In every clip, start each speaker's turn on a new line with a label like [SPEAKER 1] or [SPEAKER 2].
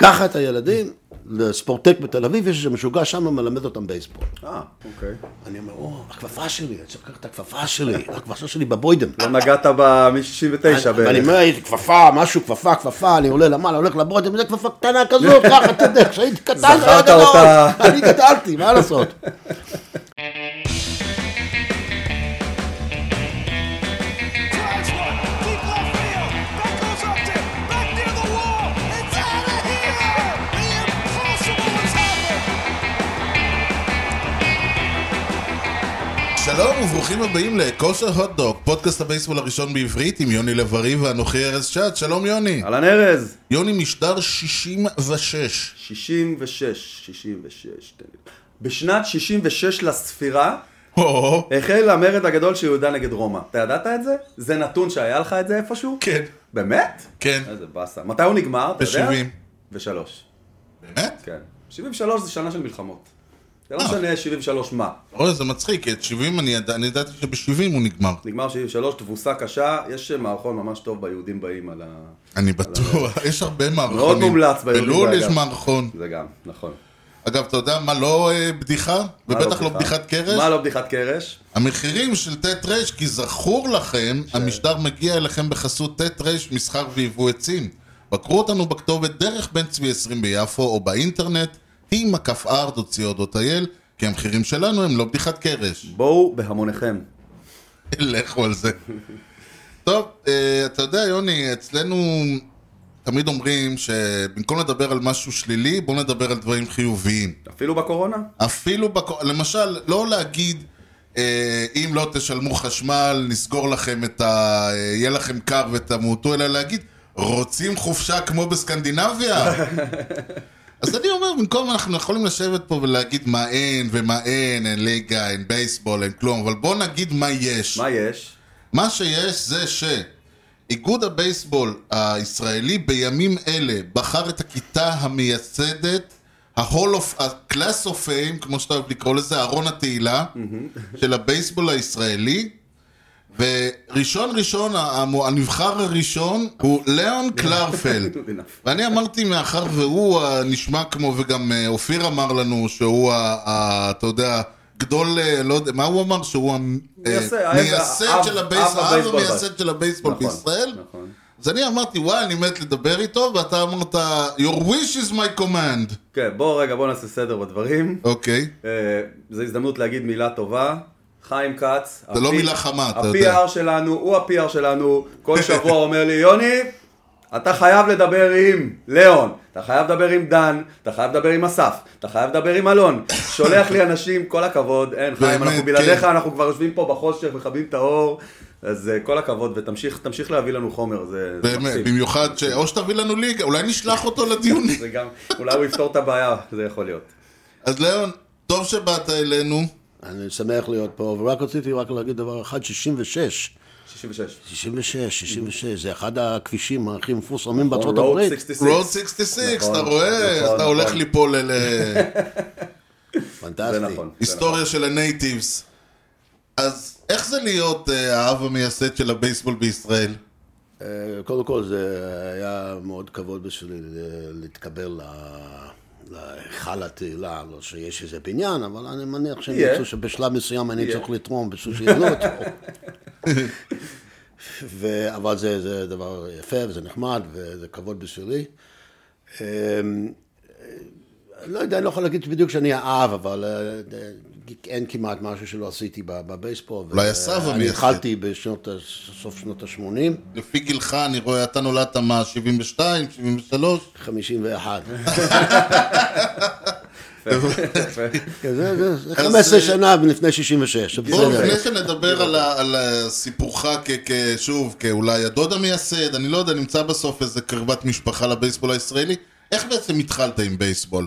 [SPEAKER 1] קח את הילדים לספורטק בתל אביב, יש איזה משוגע שם, מלמד אותם בייסבול.
[SPEAKER 2] אה, אוקיי.
[SPEAKER 1] אני אומר, או, הכפפה שלי, אני צריך לקחת את הכפפה שלי, הכפפה שלי בבוידם.
[SPEAKER 2] לא נגעת ב... מ-69
[SPEAKER 1] אני- ואני
[SPEAKER 2] בערך.
[SPEAKER 1] אומר, הייתי כפפה, משהו, כפפה, כפפה, אני עולה למעלה, הולך לבוידם, זה כפפה קטנה כזאת, ככה, אתה יודע, כשהייתי קטן, לא
[SPEAKER 2] זכרת
[SPEAKER 1] יודע,
[SPEAKER 2] אותה.
[SPEAKER 1] לא, אני גדלתי, מה לעשות?
[SPEAKER 3] Drives one, deep left field. That goes up there, back near the wall. It's out of here. The impossible has happened.
[SPEAKER 4] שלום וברוכים הבאים לכושר הוטדוק, פודקאסט הבייסבול הראשון בעברית עם יוני לב-ארי ואנוכי ארז שעד, שלום יוני.
[SPEAKER 2] אהלן ארז.
[SPEAKER 4] יוני משדר 66.
[SPEAKER 2] 66, 66. תן לי. בשנת 66 לספירה,
[SPEAKER 4] או,
[SPEAKER 2] החל המרד הגדול של יהודה נגד רומא. אתה ידעת את זה? זה נתון שהיה לך את זה איפשהו?
[SPEAKER 4] כן,
[SPEAKER 2] באמת?
[SPEAKER 4] כן.
[SPEAKER 2] איזה באסה. מתי הוא נגמר? אתה יודע?
[SPEAKER 4] ב-70.
[SPEAKER 2] ושלוש.
[SPEAKER 4] באמת?
[SPEAKER 2] כן. 73 זה שנה של מלחמות. זה לא
[SPEAKER 4] אה.
[SPEAKER 2] משנה 73 מה.
[SPEAKER 4] אוי, זה מצחיק, כי את 70 אני ידע- אני ידעתי שב-70 הוא נגמר.
[SPEAKER 2] נגמר 73, תבוסה קשה, יש מערכון ממש טוב ביהודים באים על ה...
[SPEAKER 4] אני בטוח, יש הרבה מערכונים.
[SPEAKER 2] מאוד מומלץ ביהודים,
[SPEAKER 4] בלול
[SPEAKER 2] אגב.
[SPEAKER 4] יש מערכון.
[SPEAKER 2] זה גם, נכון.
[SPEAKER 4] אגב, אתה יודע מה לא אה, בדיחה?
[SPEAKER 2] מה
[SPEAKER 4] ובטח לא
[SPEAKER 2] בדיחה?
[SPEAKER 4] בדיחת קרש?
[SPEAKER 2] מה לא בדיחת קרש?
[SPEAKER 4] המחירים של ט' ר', כי זכור לכם, המשדר מגיע אליכם בחסות ט' ר', מסחר ויבוא עצים. בקרו אותנו בכתובת דרך בן צבי 20 ביפו, או באינטרנט, t.r.co.il, כי המחירים שלנו הם לא בדיחת קרש.
[SPEAKER 2] בואו בהמוניכם.
[SPEAKER 4] לכו על זה. טוב, אה, אתה יודע, יוני, אצלנו תמיד אומרים שבמקום לדבר על משהו שלילי, בואו נדבר על דברים חיוביים.
[SPEAKER 2] אפילו בקורונה?
[SPEAKER 4] אפילו, בק... למשל, לא להגיד, אה, אם לא תשלמו חשמל, נסגור לכם את ה... אה, יהיה לכם קר ותמותו, אלא להגיד, רוצים חופשה כמו בסקנדינביה? אז אני אומר, במקום אנחנו יכולים לשבת פה ולהגיד מה אין ומה אין, אין ליגה, אין בייסבול, אין כלום, אבל בוא נגיד מה יש.
[SPEAKER 2] מה יש?
[SPEAKER 4] מה שיש זה שאיגוד הבייסבול הישראלי בימים אלה בחר את הכיתה המייסדת, ה-Hall of, ה-Class of Fame, כמו שאתה אוהב לקרוא לזה, ארון התהילה, של הבייסבול הישראלי. וראשון ראשון, המו- הנבחר הראשון הוא ליאון קלרפלד. ואני אמרתי, מאחר והוא אה, נשמע כמו, וגם אה, אופיר אמר לנו שהוא, ה- ה- אתה יודע, גדול, אה, לא יודע, מה הוא אמר? שהוא המ- אה,
[SPEAKER 2] מייסד, האב-
[SPEAKER 4] מייסד
[SPEAKER 2] האב-
[SPEAKER 4] של
[SPEAKER 2] האב
[SPEAKER 4] הבייסבול, האב
[SPEAKER 2] הבייסבול
[SPEAKER 4] המייסד של הבייסבול
[SPEAKER 2] נכון,
[SPEAKER 4] בישראל.
[SPEAKER 2] נכון.
[SPEAKER 4] אז אני אמרתי, וואי, אני מת לדבר איתו, ואתה אמרת, your wish is my command.
[SPEAKER 2] כן, בואו רגע, בואו נעשה סדר בדברים.
[SPEAKER 4] אוקיי,
[SPEAKER 2] אה, זו הזדמנות להגיד מילה טובה. חיים כץ.
[SPEAKER 4] זה לא
[SPEAKER 2] הפי-
[SPEAKER 4] מילה חמה, אתה יודע.
[SPEAKER 2] ה-PR שלנו, הוא ה-PR שלנו, כל שבוע אומר לי, יוני, אתה חייב לדבר עם ליאון, אתה חייב לדבר עם דן, אתה חייב לדבר עם אסף, אתה חייב לדבר עם אלון. שולח לי אנשים, כל הכבוד, אין חיים,
[SPEAKER 4] באמת,
[SPEAKER 2] אנחנו בלעדיך,
[SPEAKER 4] כן.
[SPEAKER 2] אנחנו כבר יושבים פה בחושך, מכבים את האור, אז אה, כל הכבוד, ותמשיך תמשיך להביא לנו חומר, זה זה
[SPEAKER 4] באמת,
[SPEAKER 2] מקסים.
[SPEAKER 4] במיוחד ש... או שתביא לנו ליגה, אולי נשלח אותו לדיונים.
[SPEAKER 2] זה גם, אולי הוא יפתור את הבעיה, זה יכול להיות.
[SPEAKER 4] אז ליאון, טוב שבאת אלינו.
[SPEAKER 1] אני שמח להיות פה, ורק רציתי רק להגיד דבר אחד, 66.
[SPEAKER 2] 66.
[SPEAKER 1] 66, 66, זה אחד הכבישים הכי מפורסמים בארצות
[SPEAKER 2] נכון, Road
[SPEAKER 1] הברית.
[SPEAKER 2] 66.
[SPEAKER 4] רוד 66,
[SPEAKER 2] נכון,
[SPEAKER 4] אתה רואה?
[SPEAKER 2] נכון,
[SPEAKER 4] אתה הולך
[SPEAKER 2] נכון.
[SPEAKER 4] ליפול אל אה,
[SPEAKER 1] פנטסטי.
[SPEAKER 2] זה נכון. זה נכון.
[SPEAKER 4] היסטוריה של הנייטיבס. אז איך זה להיות אה, האב המייסד של הבייסבול בישראל?
[SPEAKER 1] אה, קודם כל, זה היה מאוד כבוד בשבילי אה, להתקבל ל- להיכל התהילה, לא שיש איזה בניין, אבל אני מניח שהם
[SPEAKER 2] יהיה.
[SPEAKER 1] יצאו שבשלב מסוים אני
[SPEAKER 2] יהיה.
[SPEAKER 1] צריך לתרום בשביל שיבנו אותו. ו- אבל זה, זה דבר יפה וזה נחמד וזה כבוד בשבילי. אה, אה, לא יודע, אני לא יכול להגיד בדיוק שאני האב, אבל אה, אה, אין כמעט משהו שלא עשיתי ב- בבייסבול.
[SPEAKER 4] אולי הסב
[SPEAKER 1] אה, אני
[SPEAKER 4] המייסד.
[SPEAKER 1] התחלתי בשנות, ה- סוף שנות ה-80.
[SPEAKER 4] לפי גילך, אני רואה, אתה נולדת מה? 72? 73?
[SPEAKER 1] 51.
[SPEAKER 2] יפה.
[SPEAKER 1] כן, זה- זה- זה 15 שנה לפני 66.
[SPEAKER 4] בואו,
[SPEAKER 1] בסדר.
[SPEAKER 4] לפני שנדבר על ה- על אה, סיפורך כ- כ- שוב, כאולי הדוד המייסד, אני לא יודע, נמצא בסוף איזה קרבת משפחה לבייסבול הישראלי. איך בעצם התחלת עם בייסבול?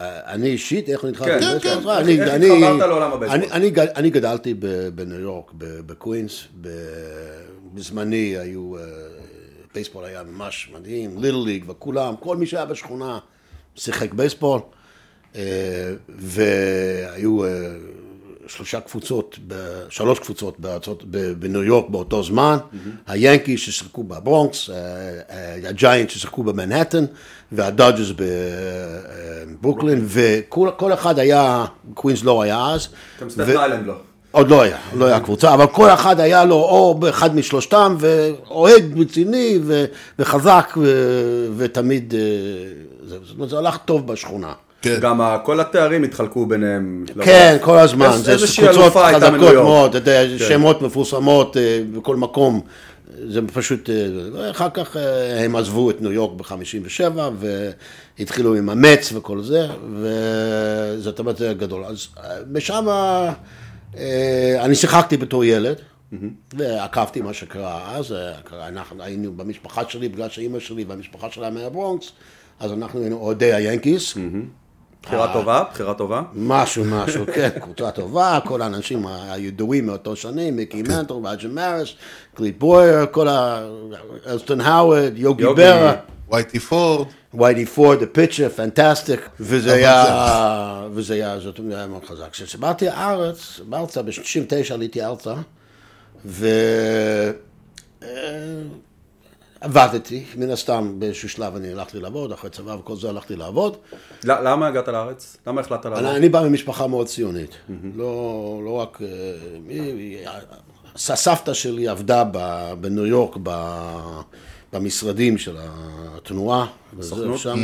[SPEAKER 1] אני אישית, איך נתחלתי?
[SPEAKER 2] כן,
[SPEAKER 1] בבייסבול?
[SPEAKER 4] כן,
[SPEAKER 1] אני-
[SPEAKER 4] כן.
[SPEAKER 2] איך
[SPEAKER 1] אני-
[SPEAKER 2] התחברת לעולם הבייסבול?
[SPEAKER 1] אני- אני גד- אני גדלתי ב- בניו יורק, ב- בקווינס. ב- בזמני היו, אה, בייסבול היה ממש מדהים, ליל ליג וכולם, כל מי שהיה בשכונה שיחק בייסבול. אה, והיו אה, שלושה קבוצות, ב- שלוש קבוצות בארצות, ב- בניו יורק באותו זמן, היאנקי ששיחקו בברונקס, אה, אה, הג'יינט ששיחקו במנהטן, והדודג'רס בברוקלין, אה, וכל כל אחד היה, קווינס לא היה אז.
[SPEAKER 2] גם
[SPEAKER 1] ו-
[SPEAKER 2] סטטן איילנד לא.
[SPEAKER 1] עוד לא היה, לא היה קבוצה, אבל כל אחד היה לו או אחד משלושתם, ואוהד רציני ו- וחזק, ו- ותמיד, אה, זה, זה, זה הלך טוב בשכונה.
[SPEAKER 4] כן.
[SPEAKER 2] גם ה- כל התארים התחלקו ביניהם.
[SPEAKER 1] כן, כל הזמן,
[SPEAKER 2] איז-
[SPEAKER 1] זה
[SPEAKER 2] איזושהי
[SPEAKER 1] קבוצות
[SPEAKER 2] אלופה הייתה בניו
[SPEAKER 1] חזקות
[SPEAKER 2] יורק. כן.
[SPEAKER 1] מאוד, אתה יודע, שמות מפורסמות אה, בכל מקום, זה פשוט, אה, אחר כך אה, הם עזבו את ניו יורק ב-57, והתחילו עם המץ וכל זה, וזאת אומרת, זה היה גדול. אז אה, משם אה, אני שיחקתי בתור ילד. ועקבתי מה שקרה אז, אה, אנחנו היינו במשפחה שלי, בגלל שאימא שלי והמשפחה שלה מהברונקס, אז אנחנו היינו אוהדי היאנקיס, אה.
[SPEAKER 2] בחירה טובה, בחירה טובה.
[SPEAKER 1] משהו, משהו, כן, קבוצה טובה, כל האנשים הידועים מאותו שנים, מיקי מנטור, רג'ה מריס, קליט בויר, כל ה... אלסטון האוורד, יוגי
[SPEAKER 2] יוגי.
[SPEAKER 1] ברה,
[SPEAKER 4] וייטי פורד,
[SPEAKER 1] ויידי פורד, הפיצ'ר, פנטסטיק, וזה
[SPEAKER 4] אבל
[SPEAKER 1] היה, וזה היה, זאת אומרת, היה מאוד חזק. כשבאתי לארץ, בארצה, ב-69 עליתי ארצה, ו... אה, עבדתי, מן הסתם באיזשהו שלב אני הלכתי לעבוד, אחרי צבא וכל זה הלכתי לעבוד.
[SPEAKER 2] ל- למה הגעת לארץ? למה החלטת לעלות?
[SPEAKER 1] אני, אני בא ממשפחה מאוד ציונית. לא, לא רק... אה, היא- היא- ס- סבתא שלי עבדה ב, בניו יורק ב, במשרדים של התנועה.
[SPEAKER 2] סוכנות? Mm.
[SPEAKER 1] שם,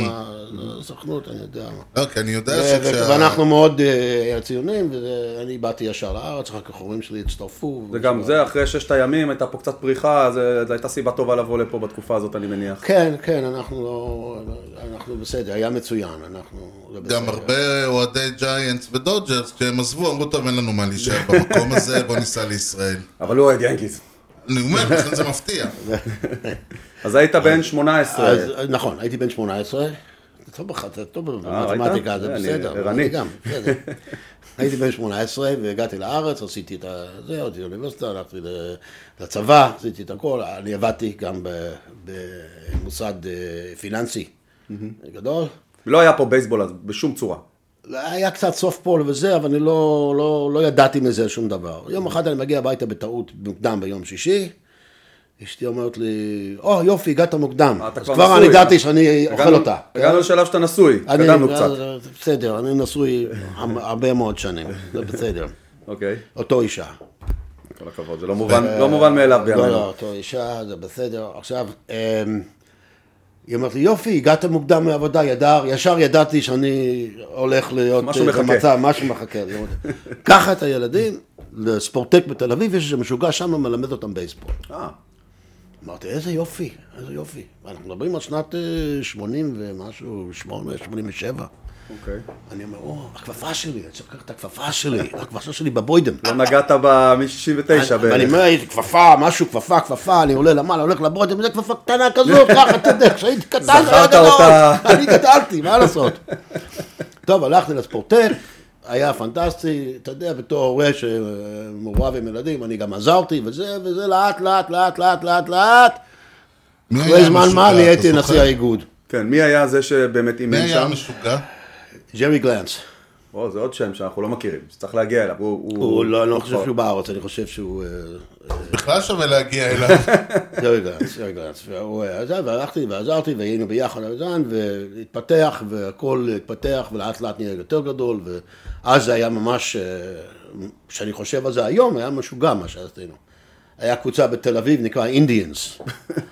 [SPEAKER 1] סוכנות, אני יודע. מה.
[SPEAKER 4] לא, כי אני יודע
[SPEAKER 1] ו- כן, ו-
[SPEAKER 4] שכשה...
[SPEAKER 1] ואנחנו מאוד אה, ציונים, ואני באתי ישר לארץ, אחר כך הורים שלי הצטרפו.
[SPEAKER 2] זה גם זה, אחרי ששת הימים הייתה פה קצת פריחה, זה- זו הייתה סיבה טובה לבוא לפה בתקופה הזאת, אני מניח.
[SPEAKER 1] כן, כן, אנחנו לא... אנחנו בסדר, היה מצוין, אנחנו... זה
[SPEAKER 4] גם
[SPEAKER 1] בסדר.
[SPEAKER 4] הרבה אוהדי ג'יינטס ודודג'רס, כשהם עזבו, אמרו, טוב, אין לנו מה להישאר במקום הזה, בוא ניסע לישראל.
[SPEAKER 2] אבל הוא אוהד ינקיז.
[SPEAKER 4] אני אומר, לכן זה מפתיע.
[SPEAKER 2] אז היית בן 18.
[SPEAKER 1] אז נכון, הייתי בן 18. אתה טוב בך, אתה טוב במתמטיקה,
[SPEAKER 2] אה, ראית?
[SPEAKER 1] זה
[SPEAKER 2] אני
[SPEAKER 1] בסדר. אבל
[SPEAKER 2] ערני.
[SPEAKER 1] אני גם, בסדר. הייתי בן 18 והגעתי לארץ, עשיתי את ה... זה, הלכתי לאוניברסיטה, הלכתי ל- לצבא, עשיתי את הכל. אני עבדתי גם ב- במוסד אה, פיננסי גדול.
[SPEAKER 2] לא היה פה בייסבול אז, בשום צורה.
[SPEAKER 1] היה קצת סוף פול וזה, אבל אני לא, לא, לא ידעתי מזה שום דבר. יום אחד אני מגיע הביתה בטעות מוקדם ביום שישי, אשתי אומרת לי, או oh, יופי, הגעת מוקדם.
[SPEAKER 2] אה, אתה
[SPEAKER 1] אז
[SPEAKER 2] כבר
[SPEAKER 1] כבר אני
[SPEAKER 2] נשוי.
[SPEAKER 1] ידעתי שאני אוכל
[SPEAKER 2] הגענו-
[SPEAKER 1] אותה.
[SPEAKER 2] הגענו לשלב שאתה נשוי,
[SPEAKER 1] אני- אה,
[SPEAKER 2] התקדמנו קצת.
[SPEAKER 1] בסדר, אני נשוי הרבה מאוד שנים, זה בסדר.
[SPEAKER 2] אוקיי,
[SPEAKER 1] אותו אישה.
[SPEAKER 2] כל הכבוד, זה לא מובן לא מובן מאליו
[SPEAKER 1] לא, לא,
[SPEAKER 2] בימינו.
[SPEAKER 1] אותו אישה, זה בסדר. עכשיו, אמ, היא אומרת לי, יופי, הגעת מוקדם מהעבודה, ידר, ישר ידעתי שאני הולך להיות...
[SPEAKER 2] משהו
[SPEAKER 1] אה,
[SPEAKER 2] מחכה.
[SPEAKER 1] במצב, משהו מחכה. לי." קח את הילדים לספורטק בתל אביב, יש איזה משוגע שם, מלמד אותם בייסבול.
[SPEAKER 2] אה,
[SPEAKER 1] אמרתי, איזה יופי, איזה יופי. אנחנו מדברים על שנת אה, 80 ומשהו, 8, 87.
[SPEAKER 2] אוקיי.
[SPEAKER 1] אני אומר, או, הכפפה שלי, אני צריך לקחת את הכפפה שלי, הכפפה שלי בבוידם.
[SPEAKER 2] לא נגעת ב... מ-69
[SPEAKER 1] אני- ואני
[SPEAKER 2] בערך.
[SPEAKER 1] אומר, הייתי כפפה, משהו, כפפה, כפפה, אני עולה למעלה, הולך לבוידם, זה כפפה קטנה כזו, ככה, אתה יודע, כשהייתי קטן, לא
[SPEAKER 2] זכרת
[SPEAKER 1] יודע,
[SPEAKER 2] אותה.
[SPEAKER 1] אני גדלתי, מה לעשות? טוב, הלכתי לספורטק, היה פנטסטי, אתה יודע, בתור הורה שמעורב עם ילדים, אני גם עזרתי, וזה, וזה, לאט, לאט, לאט, לאט, לאט, לאט,
[SPEAKER 4] מי
[SPEAKER 1] אחרי
[SPEAKER 4] היה
[SPEAKER 1] זמן
[SPEAKER 4] המשוגע,
[SPEAKER 1] מה, אני
[SPEAKER 4] אה, אתה
[SPEAKER 1] הייתי
[SPEAKER 4] זוכר?
[SPEAKER 1] נשיא האיגוד,
[SPEAKER 2] כן, מי היה זה שבאמת
[SPEAKER 4] מי
[SPEAKER 2] אימן
[SPEAKER 4] היה
[SPEAKER 2] שם?
[SPEAKER 4] המשוגע?
[SPEAKER 1] ג'רי גלנץ.
[SPEAKER 2] או, זה עוד שם שאנחנו לא מכירים, שצריך להגיע אליו. הוא-
[SPEAKER 1] הוא לא, אני לא
[SPEAKER 2] הוא
[SPEAKER 1] חושב
[SPEAKER 2] כבר-
[SPEAKER 1] שהוא בארץ, אני חושב שהוא... אה,
[SPEAKER 4] בכלל שווה להגיע אליו.
[SPEAKER 1] יואי גלנץ, יואי גלנץ, והוא עזב, והלכתי ועזרתי והיינו ביחד עזן, והתפתח, והכל התפתח, ולאט לאט נהיה יותר גדול, ואז זה היה ממש, אה, כשאני חושב על זה היום, היה משוגע מה שעשינו. היה קבוצה בתל אביב, נקרא אינדיאנס. אוקיי.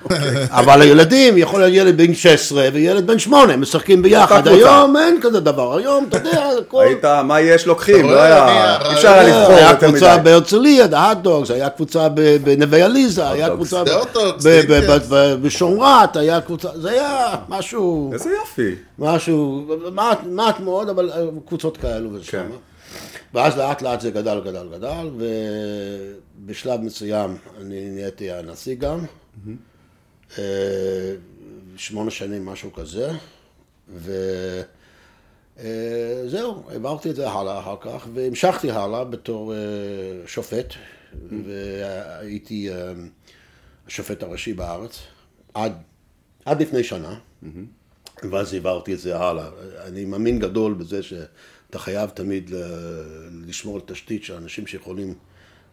[SPEAKER 1] אבל הילדים, יכול להיות ילד בן 16 וילד בן 8, משחקים ביחד.
[SPEAKER 2] קבוצה.
[SPEAKER 1] היום אין כזה דבר, היום, אתה יודע, הכל...
[SPEAKER 2] היית, מה יש לוקחים,
[SPEAKER 4] אתה
[SPEAKER 2] לא
[SPEAKER 4] רואה,
[SPEAKER 2] היה,
[SPEAKER 4] אני-
[SPEAKER 2] אי אפשר היה
[SPEAKER 4] אני-
[SPEAKER 2] לבחור
[SPEAKER 1] לא, היה
[SPEAKER 2] יותר
[SPEAKER 1] קבוצה
[SPEAKER 2] מדי.
[SPEAKER 1] בהרצליה, האטדוגס, היה קבוצה ב- בנווה עליזה, היה
[SPEAKER 2] Hot dogs.
[SPEAKER 1] קבוצה ב-
[SPEAKER 4] זה hot dogs,
[SPEAKER 1] ב- ב-
[SPEAKER 4] כן.
[SPEAKER 1] ב- ב- בשומרת, היה קבוצה, זה היה משהו,
[SPEAKER 2] איזה יופי.
[SPEAKER 1] משהו, מעט- מעט מאוד, אבל אה, קבוצות כאלו ושם.
[SPEAKER 2] כן.
[SPEAKER 1] ואז לאט לאט זה גדל, גדל, גדל, ובשלב מסוים אני נהייתי הנשיא גם. אה, שמונה שנים, משהו כזה. ו... אה, זהו, העברתי את זה הלאה אחר כך, והמשכתי הלאה בתור אה, שופט, והייתי אה, השופט הראשי בארץ, עד, עד לפני שנה. ואז העברתי את זה הלאה. אני מאמין גדול בזה שאתה חייב תמיד ל- לשמור על תשתית של אנשים שיכולים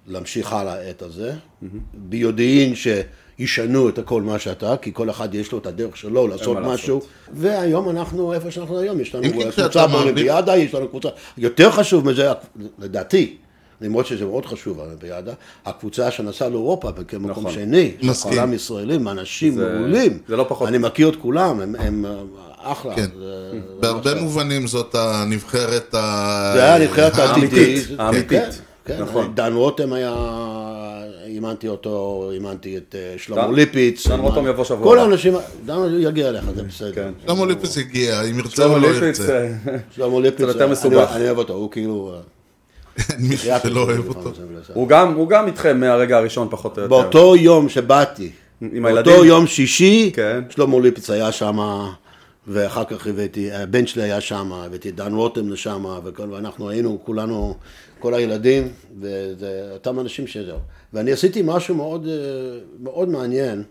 [SPEAKER 1] להמשיך הלאה את הזה, ביודעין שישנו את הכל מה שאתה, כי כל אחד יש לו את הדרך שלו לעשות
[SPEAKER 2] מה
[SPEAKER 1] משהו. והיום אנחנו איפה שאנחנו היום, יש לנו
[SPEAKER 4] אם כי כשאתה
[SPEAKER 1] קבוצה
[SPEAKER 4] מעביר-
[SPEAKER 1] באולימפיאדה, יש לנו קבוצה, יותר חשוב מזה, לדעתי. למרות שזה מאוד חשוב, האולימפיאדה, הקבוצה שנסעה לאירופה כמקום
[SPEAKER 2] נכון.
[SPEAKER 1] שני,
[SPEAKER 4] מסכים.
[SPEAKER 1] כולם ישראלים, אנשים
[SPEAKER 2] זה-
[SPEAKER 1] מעולים,
[SPEAKER 2] זה לא פחות.
[SPEAKER 1] אני מכיר את כולם, הם- הם אה, אחלה,
[SPEAKER 4] כן.
[SPEAKER 1] זה-
[SPEAKER 4] בהרבה מובנים זאת הנבחרת ה...
[SPEAKER 1] זה היה נבחרת
[SPEAKER 4] אה,
[SPEAKER 2] האמיתית,
[SPEAKER 1] העתידית.
[SPEAKER 2] האמיתית.
[SPEAKER 1] כן, כן,
[SPEAKER 2] נכון.
[SPEAKER 1] דן רותם היה, אימנתי אותו, אימנתי את אה,
[SPEAKER 2] דן-
[SPEAKER 1] שלמה ליפיץ.
[SPEAKER 2] דן
[SPEAKER 1] אימנ-
[SPEAKER 2] רותם יבוא שבוע
[SPEAKER 1] כל
[SPEAKER 2] הבא. כן.
[SPEAKER 1] האנשים, דן רותם יגיע אליך, זה בסדר.
[SPEAKER 4] שלמה ליפס הגיע, אם ירצה או
[SPEAKER 2] שלמה
[SPEAKER 4] לא
[SPEAKER 2] ליפץ,
[SPEAKER 4] ירצה.
[SPEAKER 2] אה,
[SPEAKER 1] שלמה ליפיץ,
[SPEAKER 2] יותר
[SPEAKER 1] אני-
[SPEAKER 2] מסובך.
[SPEAKER 1] אני אוהב אותו, הוא כאילו... אה,
[SPEAKER 4] אין מישהו
[SPEAKER 1] קריאת
[SPEAKER 4] שלא אוהב
[SPEAKER 1] לפעמים
[SPEAKER 4] אותו.
[SPEAKER 1] זה מנסה.
[SPEAKER 2] הוא גם- הוא גם איתכם מהרגע הראשון פחות או יותר.
[SPEAKER 1] באותו יום שבאתי,
[SPEAKER 2] עם
[SPEAKER 1] באותו
[SPEAKER 2] הילדים?
[SPEAKER 1] יום שישי,
[SPEAKER 2] כן.
[SPEAKER 1] שלמה ליפץ היה שם, ואחר כך הבאתי, הבן שלי היה שם, הבאתי את דן רותם לשם, וכל- ואנחנו היינו כולנו, כל הילדים, וזה אותם אנשים שזהו. ואני עשיתי משהו מאוד, אה, מאוד מעניין,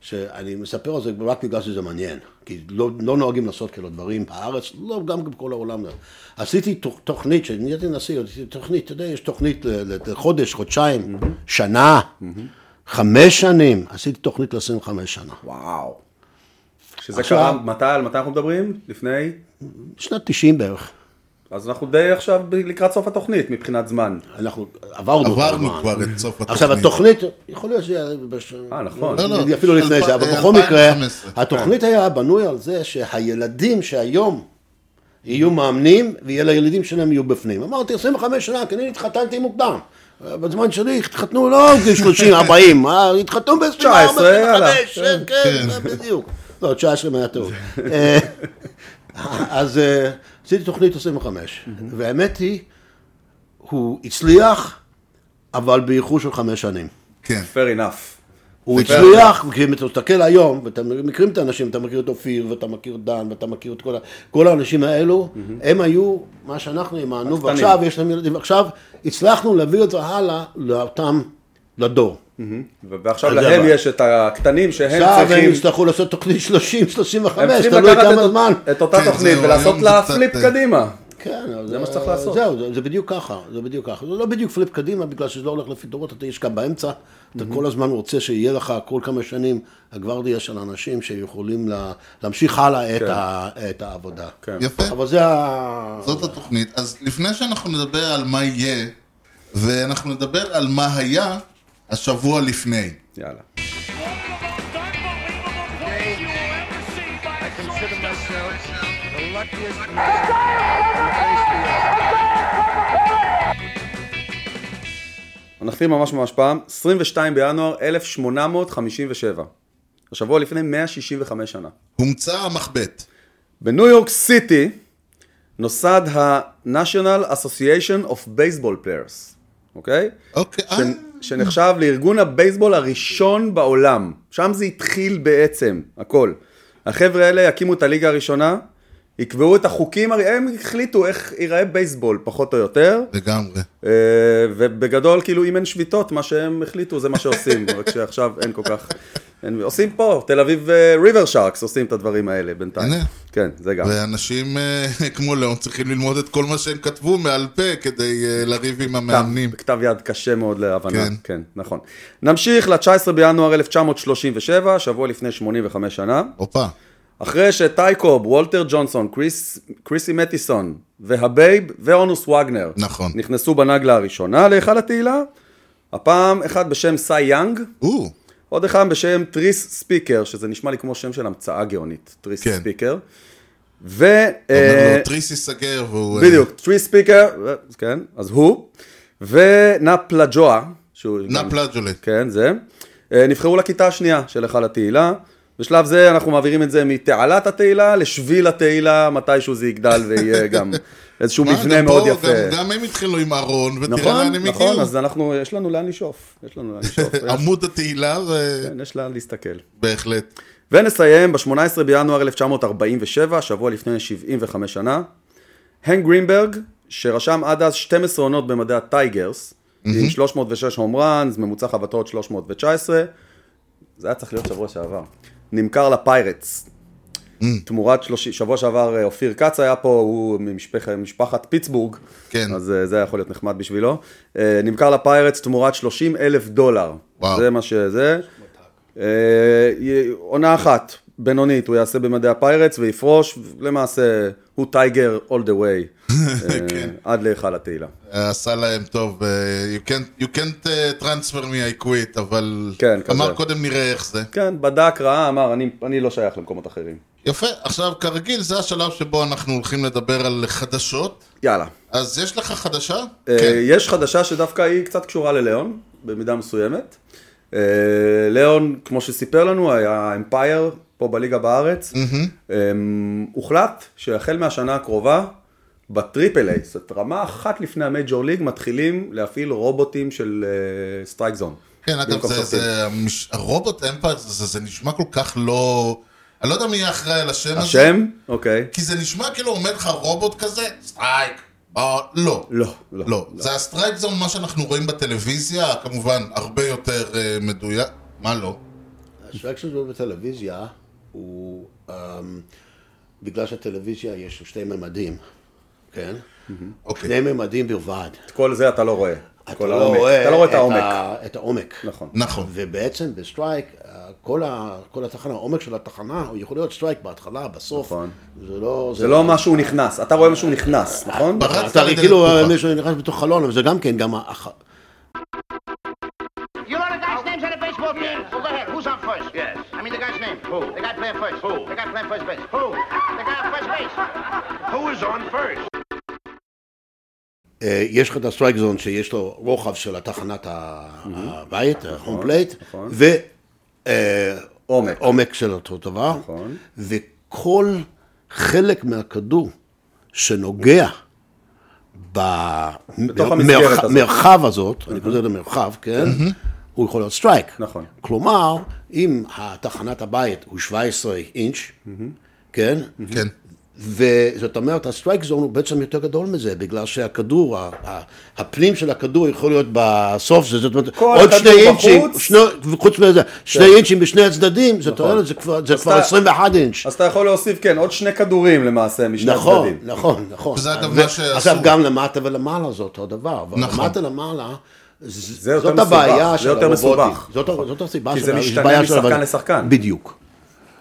[SPEAKER 1] שאני מספר על זה רק בגלל שזה מעניין, כי לא, לא נוהגים לעשות כאלה דברים בארץ, לא גם בכל העולם. לא. עשיתי תוכ- תוכנית, כשנהייתי נשיא, עשיתי תוכנית, אתה יודע, יש תוכנית ל- ל- לחודש, חודשיים, שנה, חמש שנים, עשיתי תוכנית ל-25 שנה.
[SPEAKER 2] וואו. שזה
[SPEAKER 1] עכשיו-
[SPEAKER 2] קרה, מתי, על מתי אנחנו מדברים? לפני?
[SPEAKER 1] שנת 90 בערך.
[SPEAKER 2] אז אנחנו די עכשיו ב- לקראת סוף התוכנית מבחינת זמן.
[SPEAKER 1] אנחנו עברנו,
[SPEAKER 4] עברנו
[SPEAKER 1] כמובן.
[SPEAKER 4] כבר את סוף
[SPEAKER 1] עכשיו
[SPEAKER 4] התוכנית.
[SPEAKER 1] התוכנית, יכול להיות שזה היה... בש-
[SPEAKER 2] אה, נכון.
[SPEAKER 4] לא, לא.
[SPEAKER 1] אפילו לפני
[SPEAKER 4] אלפ-
[SPEAKER 1] זה, אבל
[SPEAKER 4] אה,
[SPEAKER 1] בכל מקרה,
[SPEAKER 4] 2015.
[SPEAKER 1] התוכנית היה בנוי על זה שהילדים שהיום יהיו מאמנים, ולילדים שלהם יהיו בפנים. אמרתי, 25 שנה, כי אני התחתנתי מוקדם. בזמן שלי התחתנו לא בגיל 30, 40, אה, התחתנו ב-24,
[SPEAKER 2] 19, יאללה.
[SPEAKER 1] 25, כן, כן, זה בדיוק. לא, 19 היה טוב. אה, אז אה, עשיתי תוכנית 25, והאמת היא, הוא הצליח, אבל באיחור של חמש שנים.
[SPEAKER 4] כן.
[SPEAKER 2] fair enough.
[SPEAKER 1] הוא
[SPEAKER 4] זה
[SPEAKER 1] הצליח, כי אם אתה מסתכל היום, ואתה מכירים את האנשים, אתה מכיר את אופיר, ואתה מכיר את דן, ואתה מכיר את כל, ה- כל האנשים האלו, הם היו מה שאנחנו האמנו,
[SPEAKER 2] הקטנים.
[SPEAKER 1] ועכשיו יש להם ילדים, ועכשיו הצלחנו להביא את זה הלאה לאותם, לדור.
[SPEAKER 2] ו- ועכשיו
[SPEAKER 1] אתה יודע
[SPEAKER 2] להם
[SPEAKER 1] מה.
[SPEAKER 2] יש את הקטנים שהם
[SPEAKER 1] עכשיו הם
[SPEAKER 2] צריכים...
[SPEAKER 1] יצטרכו לעשות תוכנית 30,
[SPEAKER 2] הם
[SPEAKER 1] 35,
[SPEAKER 2] צריכים
[SPEAKER 1] תלוי
[SPEAKER 2] לקחת את
[SPEAKER 1] כמה
[SPEAKER 2] אות-
[SPEAKER 1] זמן.
[SPEAKER 2] את אותה
[SPEAKER 4] כן,
[SPEAKER 2] תוכנית
[SPEAKER 4] זהו,
[SPEAKER 2] ולעשות
[SPEAKER 4] היום
[SPEAKER 2] לה
[SPEAKER 4] זה קצת,
[SPEAKER 2] פליפ
[SPEAKER 4] אה,
[SPEAKER 2] קדימה.
[SPEAKER 1] כן, אבל
[SPEAKER 2] מה שצריך לעשות.
[SPEAKER 1] זהו, זה- זה בדיוק ככה, זה בדיוק ככה. זה לא בדיוק פליפ קדימה, בגלל שזה לא הולך לפי דורות, אתה יש גם באמצע, אתה
[SPEAKER 2] Mhm.
[SPEAKER 1] כל הזמן רוצה שיהיה לך כל כמה שנים הגוורדיה של אנשים שיכולים לה- להמשיך הלאה את
[SPEAKER 2] כן.
[SPEAKER 1] ה- את העבודה.
[SPEAKER 2] כן.
[SPEAKER 4] יפה.
[SPEAKER 1] אבל זה ה...
[SPEAKER 4] זאת התוכנית. אז לפני שאנחנו נדבר על מה יהיה, ואנחנו נדבר על מה היה השבוע לפני.
[SPEAKER 2] יאלה.
[SPEAKER 3] I consider myself the luckiest
[SPEAKER 2] נחתים ממש ממש פעם, 22 בינואר 1857. השבוע לפני 165 שנה.
[SPEAKER 4] הומצא המחבט.
[SPEAKER 2] בניו יורק סיטי נוסד ה-National Association of Baseball Players, אוקיי?
[SPEAKER 4] אוקיי, אה,
[SPEAKER 2] ש- שנחשב לארגון הבייסבול הראשון בעולם. שם זה התחיל בעצם, הכל. החבר'ה האלה יקימו את הליגה הראשונה, יקבעו את החוקים, הרי הם החליטו איך ייראה בייסבול, פחות או יותר,
[SPEAKER 4] לגמרי.
[SPEAKER 2] אה, ובגדול, כאילו, אם אין שביתות, מה שהם החליטו זה מה שעושים, רק שעכשיו אין כל כך... אין, עושים פה, תל אביב ריבר שרקס עושים את הדברים האלה בינתיים.
[SPEAKER 4] הנה.
[SPEAKER 2] כן, זה גם.
[SPEAKER 4] ואנשים אה, כמו לאון צריכים ללמוד את כל מה שהם כתבו מעל פה כדי אה, לריב עם המאמנים.
[SPEAKER 2] כתב יד קשה מאוד להבנה,
[SPEAKER 4] כן.
[SPEAKER 2] כן, כן נכון. נמשיך ל-19 בינואר 1937, שבוע לפני 85 שנה,
[SPEAKER 4] הופה.
[SPEAKER 2] אחרי שטייקוב, וולטר ג'ונסון, קריס, קריסי מטיסון והבייב ואונוס וגנר
[SPEAKER 4] נכון.
[SPEAKER 2] נכנסו בנגלה הראשונה להיכל התהילה, הפעם אחד בשם סי יאנג,
[SPEAKER 4] או,
[SPEAKER 2] עוד אחד בשם טריס ספיקר, שזה נשמע לי כמו שם של המצאה גאונית, טריס
[SPEAKER 4] כן.
[SPEAKER 2] ספיקר. ו... אה,
[SPEAKER 4] אומר לו, טריס ייסגר והוא... אה,
[SPEAKER 2] בדיוק, טרי ספיקר, כן, אז הוא, ונפלג'ואה, שהוא... גם-
[SPEAKER 4] נפלג'ולה.
[SPEAKER 2] כן, זה. אה, נבחרו לכיתה השנייה של היכל התהילה. בשלב זה אנחנו מעבירים את זה מתעלת התהילה לשביל התהילה, מתישהו זה יגדל ויהיה גם איזשהו
[SPEAKER 4] מה,
[SPEAKER 2] מבנה
[SPEAKER 4] אה, גם
[SPEAKER 2] מאוד
[SPEAKER 4] פה,
[SPEAKER 2] יפה.
[SPEAKER 4] גם- גם הם התחילו עם ארון, ותראה
[SPEAKER 2] נכון,
[SPEAKER 4] לאן הם
[SPEAKER 2] נכון,
[SPEAKER 4] הגיעו. אמ-
[SPEAKER 2] אז אנחנו, יש לנו לאן לשאוף. יש לנו לאן לשאוף.
[SPEAKER 4] עמוד התהילה, ו-
[SPEAKER 2] כן, יש לאן להסתכל.
[SPEAKER 4] בהחלט.
[SPEAKER 2] ונסיים ב-18 בינואר 1947, שבוע לפני 75 שנה. הנק גרינברג, שרשם עד אז 12 עונות במדעי הטייגרס, עם 306 הום ראנס, ממוצע חבטות 319, זה היה צריך להיות שבוע שעבר, נמכר לפיירטס. תמורת 30, שבוע שעבר אה, אופיר כץ היה פה, הוא ממשפח, משפחת פיטסבורג,
[SPEAKER 4] כן.
[SPEAKER 2] אז אה, זה היה יכול להיות נחמד בשבילו. אה, נמכר לפיירטס תמורת 30 אלף דולר.
[SPEAKER 4] וואו.
[SPEAKER 2] זה מה שזה. אה, י- עונה אחת, בינונית, הוא יעשה במדעי הפיירטס ויפרוש, למעשה הוא טייגר all the way, אה, עד להיכל התהילה.
[SPEAKER 4] עשה להם טוב, אה, you can't, you can't uh, transfer me, I quit, אבל
[SPEAKER 2] כן, כזה.
[SPEAKER 4] אמר קודם נראה איך זה.
[SPEAKER 2] כן, בדק, ראה, אמר, "אני- אני לא שייך למקומות אחרים.
[SPEAKER 4] יפה, עכשיו כרגיל זה השלב שבו אנחנו הולכים לדבר על חדשות,
[SPEAKER 2] יאללה.
[SPEAKER 4] אז יש לך חדשה?
[SPEAKER 2] אה,
[SPEAKER 4] כן,
[SPEAKER 2] יש חדשה שדווקא היא קצת קשורה ללאון, במידה מסוימת. אה, ליאון, כמו שסיפר לנו, היה אמפייר פה בליגה בארץ. אה, הוחלט שהחל מהשנה הקרובה, בטריפל איי, זאת רמה אחת לפני המייג'ור ליג, מתחילים להפעיל רובוטים של אה, סטרייק זון.
[SPEAKER 1] אה,
[SPEAKER 4] כן, אגב, זה, זה, המש... הרובוט אמפייר, זה, זה, זה נשמע כל כך לא... אני לא יודע מי יהיה אחראי על השם, הזה,
[SPEAKER 2] השם? אוקיי.
[SPEAKER 4] כי זה נשמע כאילו עומד לך רובוט כזה, סטרייק, בוא, לא.
[SPEAKER 2] לא, לא.
[SPEAKER 4] לא, זה הסטרייק זון, מה שאנחנו רואים בטלוויזיה, כמובן, הרבה יותר אה, מדויק, מה לא?
[SPEAKER 1] השרק שלו בטלוויזיה הוא, אמ, בגלל שהטלוויזיה יש שתי ממדים, כן?
[SPEAKER 4] אוקיי.
[SPEAKER 1] שני ממדים בלבד.
[SPEAKER 2] את כל זה אתה לא רואה. את
[SPEAKER 1] אתה
[SPEAKER 2] כל
[SPEAKER 1] לא
[SPEAKER 2] העומק.
[SPEAKER 1] רואה
[SPEAKER 2] אתה לא רואה את העומק.
[SPEAKER 1] ה- את העומק.
[SPEAKER 2] נכון.
[SPEAKER 4] נכון.
[SPEAKER 1] ובעצם בסטרייק, אה, כל, ה, כל התחנה, העומק של התחנה, הוא יכול להיות סטרייק בהתחלה, בסוף.
[SPEAKER 2] נכון.
[SPEAKER 1] זה לא...
[SPEAKER 2] זה לא משהו נכנס, אתה רואה משהו נכנס, נכון?
[SPEAKER 4] ברק
[SPEAKER 1] אתה
[SPEAKER 4] לדלת
[SPEAKER 1] כאילו
[SPEAKER 4] פתוחה.
[SPEAKER 1] מישהו נכנס בתוך חלון, אבל זה גם כן, גם... הח-
[SPEAKER 5] You know the guy's names on the baseball team? Well, go ahead. Who's on first? Yes. I mean the guy's name. Who? The guy playing first. Who? The guy playing first base. Who? The guy on first base. Who is on first?
[SPEAKER 1] אה, יש לך את הסטרייק זון שיש לו רוחב של תחנת הבית, אה, ההום פלייט,
[SPEAKER 2] נכון. עומק.
[SPEAKER 1] ועומק אה, של אותו דבר,
[SPEAKER 2] נכון.
[SPEAKER 1] וכל חלק מהכדור שנוגע
[SPEAKER 2] בתוך המסגרת הזאת.
[SPEAKER 1] במרחב הזאת, אני קורא לזה מרחב, כן? הוא יכול להיות סטרייק.
[SPEAKER 2] נכון.
[SPEAKER 1] כלומר, אם התחנת הבית הוא 17 אינץ', כן?
[SPEAKER 4] כן.
[SPEAKER 1] וזאת אומרת, הסטרייק זון הוא בעצם יותר גדול מזה, בגלל שהכדור, ה- ה- הפנים של הכדור יכול להיות בסוף, זה- זאת אומרת,
[SPEAKER 2] כל
[SPEAKER 1] עוד
[SPEAKER 2] הכדור
[SPEAKER 1] שני אינצ'ים,
[SPEAKER 2] בחוץ. כן. נכון.
[SPEAKER 1] שני- חוץ מזה, שני אינצ'ים בשני הצדדים, זאת אומרת, זה כבר- זה כבר
[SPEAKER 2] אתה-
[SPEAKER 1] 21 אינץ'.
[SPEAKER 2] אז אתה יכול להוסיף, כן, עוד שני כדורים למעשה משני
[SPEAKER 1] נכון,
[SPEAKER 2] הצדדים.
[SPEAKER 1] נכון, נכון.
[SPEAKER 4] שזה אגב
[SPEAKER 1] ו-
[SPEAKER 4] מה שעשו.
[SPEAKER 1] עכשיו, גם למטה ולמעלה זה אותו דבר, אבל
[SPEAKER 4] נכון.
[SPEAKER 1] למטה למעלה, ז-
[SPEAKER 2] זה יותר
[SPEAKER 1] זאת
[SPEAKER 2] מסובך,
[SPEAKER 1] הבעיה
[SPEAKER 2] זה
[SPEAKER 1] של
[SPEAKER 2] יותר
[SPEAKER 1] הרובוטים.
[SPEAKER 2] מסובך. נכון.
[SPEAKER 1] זאת ה- זאת הסיבה
[SPEAKER 2] כי
[SPEAKER 1] של
[SPEAKER 2] זה
[SPEAKER 1] ה-
[SPEAKER 2] משתנה
[SPEAKER 1] בעיה של
[SPEAKER 2] משחקן
[SPEAKER 1] הבנ-
[SPEAKER 2] לשחקן.
[SPEAKER 1] בדיוק.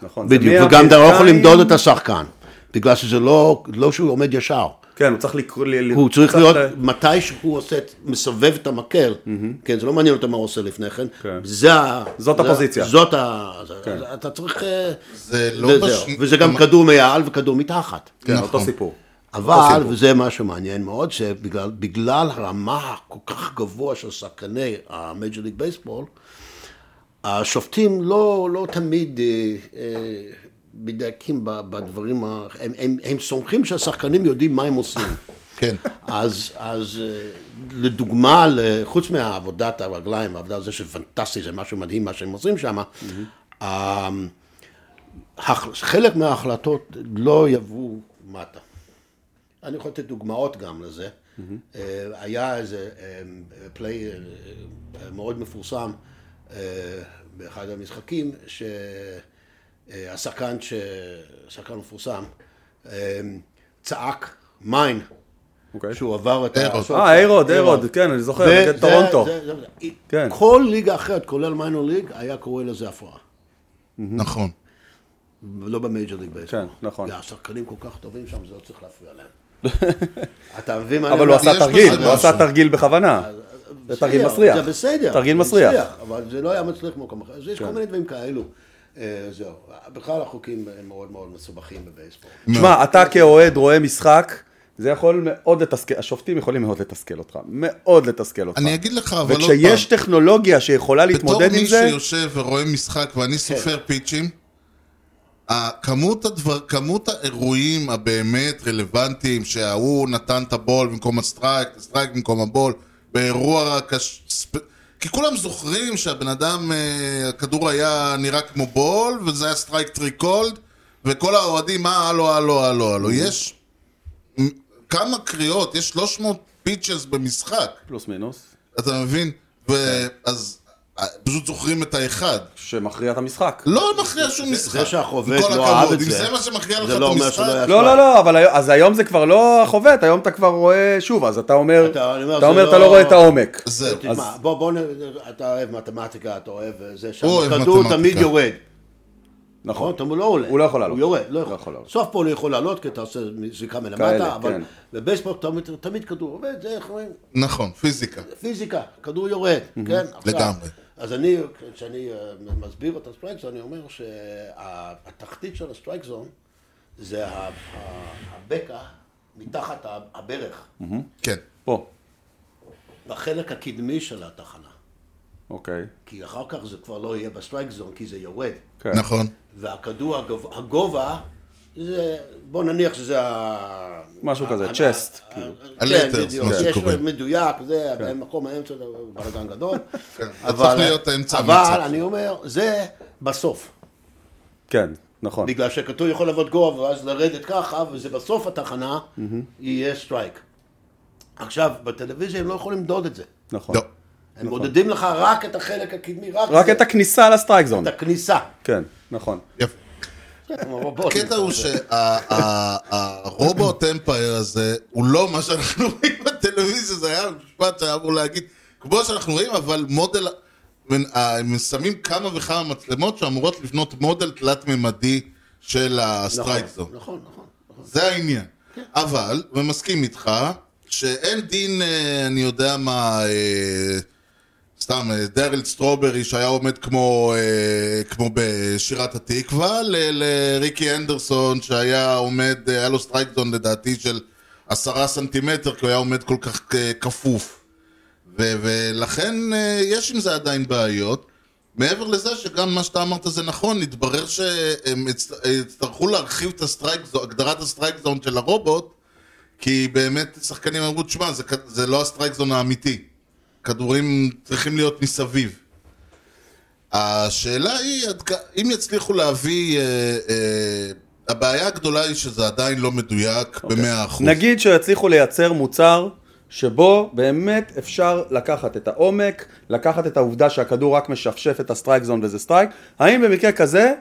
[SPEAKER 2] נכון. זה
[SPEAKER 1] בדיוק,
[SPEAKER 2] מי
[SPEAKER 1] וגם אתה לא יכול
[SPEAKER 2] האמריקאים-
[SPEAKER 1] למדוד את השחקן, בגלל שזה לא, לא שהוא עומד ישר,
[SPEAKER 2] כן, הוא צריך לקרוא... ל- ל-
[SPEAKER 1] הוא צריך
[SPEAKER 2] קצת
[SPEAKER 1] להיות,
[SPEAKER 2] ל-
[SPEAKER 1] מתי שהוא עושה, את- מסובב את המקל, כן, זה לא מעניין אותו מה הוא עושה לפני כן,
[SPEAKER 2] כן.
[SPEAKER 1] זה ה...
[SPEAKER 2] זאת
[SPEAKER 1] זה-
[SPEAKER 2] הפוזיציה. כן.
[SPEAKER 1] זאת ה... זה- אז אתה צריך... אה,
[SPEAKER 4] זה לא
[SPEAKER 1] וזהו.
[SPEAKER 4] בש-
[SPEAKER 1] וזה גם כדור מעל וכדור מתחת.
[SPEAKER 2] כן,
[SPEAKER 4] נכון.
[SPEAKER 2] אותו סיפור.
[SPEAKER 4] אוקיי,
[SPEAKER 1] אבל,
[SPEAKER 2] סיפור.
[SPEAKER 1] וזה מה שמעניין מאוד, שבגלל בגלל הרמה הכל כך גבוה של שחקני המייג'ר ליג בייסבול, השופטים לא, לא תמיד אה, אה, מדייקים ב- בדברים, ה- הם, הם, הם סומכים שהשחקנים יודעים מה הם עושים.
[SPEAKER 4] כן.
[SPEAKER 1] אז, אז אה, לדוגמה, ל- חוץ מהעבודת הרגליים, העבודה הזו שפנטסטי, זה משהו מדהים מה שהם עושים שם, אה, הח- חלק מההחלטות לא יבואו מטה. אני יכול לתת דוגמאות גם לזה. אה, היה איזה אה, פליי אה, אה, מאוד מפורסם אה, באחד המשחקים, שהשחקן, ש- השחקן מפורסם, אה, צעק מיין,
[SPEAKER 2] אוקיי.
[SPEAKER 1] שהוא עבר את
[SPEAKER 4] אירוד.
[SPEAKER 1] הסוף.
[SPEAKER 2] אה, איירוד, איירוד, כן, אני זוכר,
[SPEAKER 1] זה-
[SPEAKER 2] נגד
[SPEAKER 1] זה-
[SPEAKER 2] טורונטו.
[SPEAKER 1] זה- זה-
[SPEAKER 2] כן.
[SPEAKER 1] כל ליגה אחרת, כולל מיינור ליג, היה קורא לזה הפרעה.
[SPEAKER 4] נכון.
[SPEAKER 1] לא במייג'ר ליג בעצם.
[SPEAKER 2] כן, נכון.
[SPEAKER 1] השחקנים כל כך טובים שם, זה לא צריך להפריע להם. אתה מבין מה אני
[SPEAKER 2] אבל
[SPEAKER 1] אומר?
[SPEAKER 2] הוא עשה
[SPEAKER 4] יש
[SPEAKER 2] תרגיל,
[SPEAKER 4] בזה
[SPEAKER 2] הוא עשה
[SPEAKER 4] משהו.
[SPEAKER 2] תרגיל בכוונה. זה תרגיל מסריח.
[SPEAKER 1] זה אה, בסדר.
[SPEAKER 2] תרגיל
[SPEAKER 1] זה
[SPEAKER 2] מסריח. כן.
[SPEAKER 1] אבל זה לא היה מצליח במקום אחר. אז יש כל מיני דברים כאלו. אה, זהו. בכלל החוקים הם מאוד מאוד מסובכים בבייסבול.
[SPEAKER 2] תשמע, אתה כאוהד רואה משחק, זה יכול מאוד לתסכל, השופטים יכולים מאוד לתסכל אותך. מאוד לתסכל אותך.
[SPEAKER 4] אני אגיד לך, אבל
[SPEAKER 1] לא
[SPEAKER 4] עוד פעם.
[SPEAKER 2] וכשיש טכנולוגיה שיכולה להתמודד עם
[SPEAKER 4] בתור
[SPEAKER 2] זה, כן.
[SPEAKER 4] מי שיושב ורואה משחק ואני סופר פיצ'ים, ה- כמות, הדבר, כמות האירועים הבאמת רלוונטיים שההוא נתן את הבול במקום הסטרייק, הסטרייק במקום הבול, באירוע קש... ספ- כי כולם זוכרים שהבן אדם, אה, הכדור היה נראה כמו בול, וזה היה סטרייק טרי קולד, וכל האוהדים, אה, הלו, הלו, הלו,
[SPEAKER 2] Mm.
[SPEAKER 4] הלו. יש מ- כמה קריאות, יש 300 פיצ'ס במשחק.
[SPEAKER 2] פלוס מינוס.
[SPEAKER 1] כן.
[SPEAKER 4] אתה מבין? ו- אז אה, פשוט זוכרים את האחד.
[SPEAKER 2] שמכריע את המשחק.
[SPEAKER 4] לא מכריע שום משחק.
[SPEAKER 1] זה שהחובט
[SPEAKER 4] עם כל
[SPEAKER 1] לא
[SPEAKER 4] הכבוד,
[SPEAKER 1] אהב את
[SPEAKER 4] אם
[SPEAKER 1] זה,
[SPEAKER 4] זה מה שמכריע לך
[SPEAKER 1] זה
[SPEAKER 4] את
[SPEAKER 1] לא אומר
[SPEAKER 4] המשחק,
[SPEAKER 1] שלא היה-
[SPEAKER 2] לא, לא, לא, אבל היום- אז היום זה כבר לא החובט, היום אתה כבר רואה, שוב, אז אתה אומר,
[SPEAKER 1] אתה- אני אומר,
[SPEAKER 2] אתה
[SPEAKER 1] זה
[SPEAKER 2] אומר,
[SPEAKER 1] לא-
[SPEAKER 2] אתה לא רואה את העומק.
[SPEAKER 4] זהו.
[SPEAKER 1] תשמע, בוא, בוא, נ- אתה אוהב מתמטיקה, אתה אוהב אה, זה, שם
[SPEAKER 4] הוא אוהב
[SPEAKER 1] הכדור
[SPEAKER 4] מתמטיקה.
[SPEAKER 1] תמיד יורד. נכון,
[SPEAKER 2] נכון.
[SPEAKER 1] אתה לא עולה.
[SPEAKER 2] הוא לא יכול לעלות.
[SPEAKER 1] הוא יורד, לא
[SPEAKER 2] לא יכול
[SPEAKER 1] יכול.
[SPEAKER 2] לעלות.
[SPEAKER 1] סוף פה הוא לא יכול לעלות, כי אתה עושה זיקה
[SPEAKER 2] כאלה,
[SPEAKER 1] מלמטה, אבל
[SPEAKER 2] כן.
[SPEAKER 1] בבייסבול תמיד- תמיד כדור עובד, זה איך אומרים,
[SPEAKER 4] נכון, פיזיקה.
[SPEAKER 1] פיזיקה, כדור יורד, כן? עכשיו,
[SPEAKER 4] לגמרי.
[SPEAKER 1] אז אני, כשאני אה, מסביר את הסטרייק זון, אני אומר שהתחתית של הסטרייק זון זה ה- ה- הבקע מתחת ה- הברך,
[SPEAKER 4] כן.
[SPEAKER 2] פה,
[SPEAKER 1] בחלק הקדמי של התחנה.
[SPEAKER 2] אוקיי.
[SPEAKER 1] כי אחר כך זה כבר לא יהיה בסטרייק זון, כי זה יורד.
[SPEAKER 2] כן.
[SPEAKER 4] נכון.
[SPEAKER 1] והכדור, הגוב- הגובה, זה, בוא נניח שזה ה...
[SPEAKER 2] משהו
[SPEAKER 1] ה-
[SPEAKER 2] כזה,
[SPEAKER 1] ה-
[SPEAKER 2] chest,
[SPEAKER 1] ה-
[SPEAKER 2] כאילו. כן.
[SPEAKER 1] ה-
[SPEAKER 4] ה-letters,
[SPEAKER 1] כן, בדיוק,
[SPEAKER 4] מה
[SPEAKER 1] יש
[SPEAKER 4] שקוראים.
[SPEAKER 1] מדויק, זה מקום האמצע, זה בלאגן גדול.
[SPEAKER 4] כן, זה צריך להיות האמצע
[SPEAKER 1] אבל
[SPEAKER 4] המצב.
[SPEAKER 1] אני אומר, זה בסוף.
[SPEAKER 2] כן, נכון.
[SPEAKER 1] בגלל שהכדור יכול לעבוד גובה, ואז לרדת ככה, וזה בסוף התחנה, יהיה סטרייק. עכשיו, בטלוויזיה הם לא יכולים למדוד את זה.
[SPEAKER 2] נכון.
[SPEAKER 4] לא.
[SPEAKER 1] הם מודדים לך רק את החלק הקדמי, רק
[SPEAKER 2] רק
[SPEAKER 1] זה,
[SPEAKER 2] את הכניסה לסטרייק זון.
[SPEAKER 1] את הכניסה.
[SPEAKER 2] כן, נכון.
[SPEAKER 4] יפה.
[SPEAKER 1] כן, הרובוטים.
[SPEAKER 4] הקטע הוא שהרובוט אמפייר הזה הוא לא מה שאנחנו רואים בטלוויזיה, זה היה משפט שהיה אמור להגיד, כמו שאנחנו רואים, אבל מודל, אה, הם שמים כמה וכמה מצלמות שאמורות לבנות מודל תלת-ממדי של הסטרייק זון.
[SPEAKER 1] נכון, נכון. נכון.
[SPEAKER 4] זה העניין. אבל, ומסכים איתך, שאין דין, אה, אני יודע מה, אה, סתם, אה, דרל סטרוברי שהיה עומד כמו, אה, כמו בשירת התקווה, ל- לריקי אנדרסון שהיה עומד, אה, היה לו סטרייקזון לדעתי של עשרה סנטימטר, כי הוא היה עומד כל כך אה, כפוף. ו- ולכן אה, יש עם זה עדיין בעיות. מעבר לזה שגם מה שאתה אמרת זה נכון, התברר שהם הצ- יצטרכו להרחיב את הסטרייק זון, הגדרת הסטרייק זון של הרובוט, כי באמת שחקנים אמרו, תשמע, זה, כ- זה לא הסטרייק זון האמיתי. כדורים צריכים להיות מסביב. השאלה היא, עד כ- אם יצליחו להביא... אה, אה, הבעיה הגדולה היא שזה עדיין לא מדויק במאה אחוז.
[SPEAKER 2] נגיד שיצליחו לייצר מוצר שבו באמת אפשר לקחת את העומק, לקחת את העובדה שהכדור רק משפשף את הסטרייק זון וזה סטרייק, האם במקרה כזה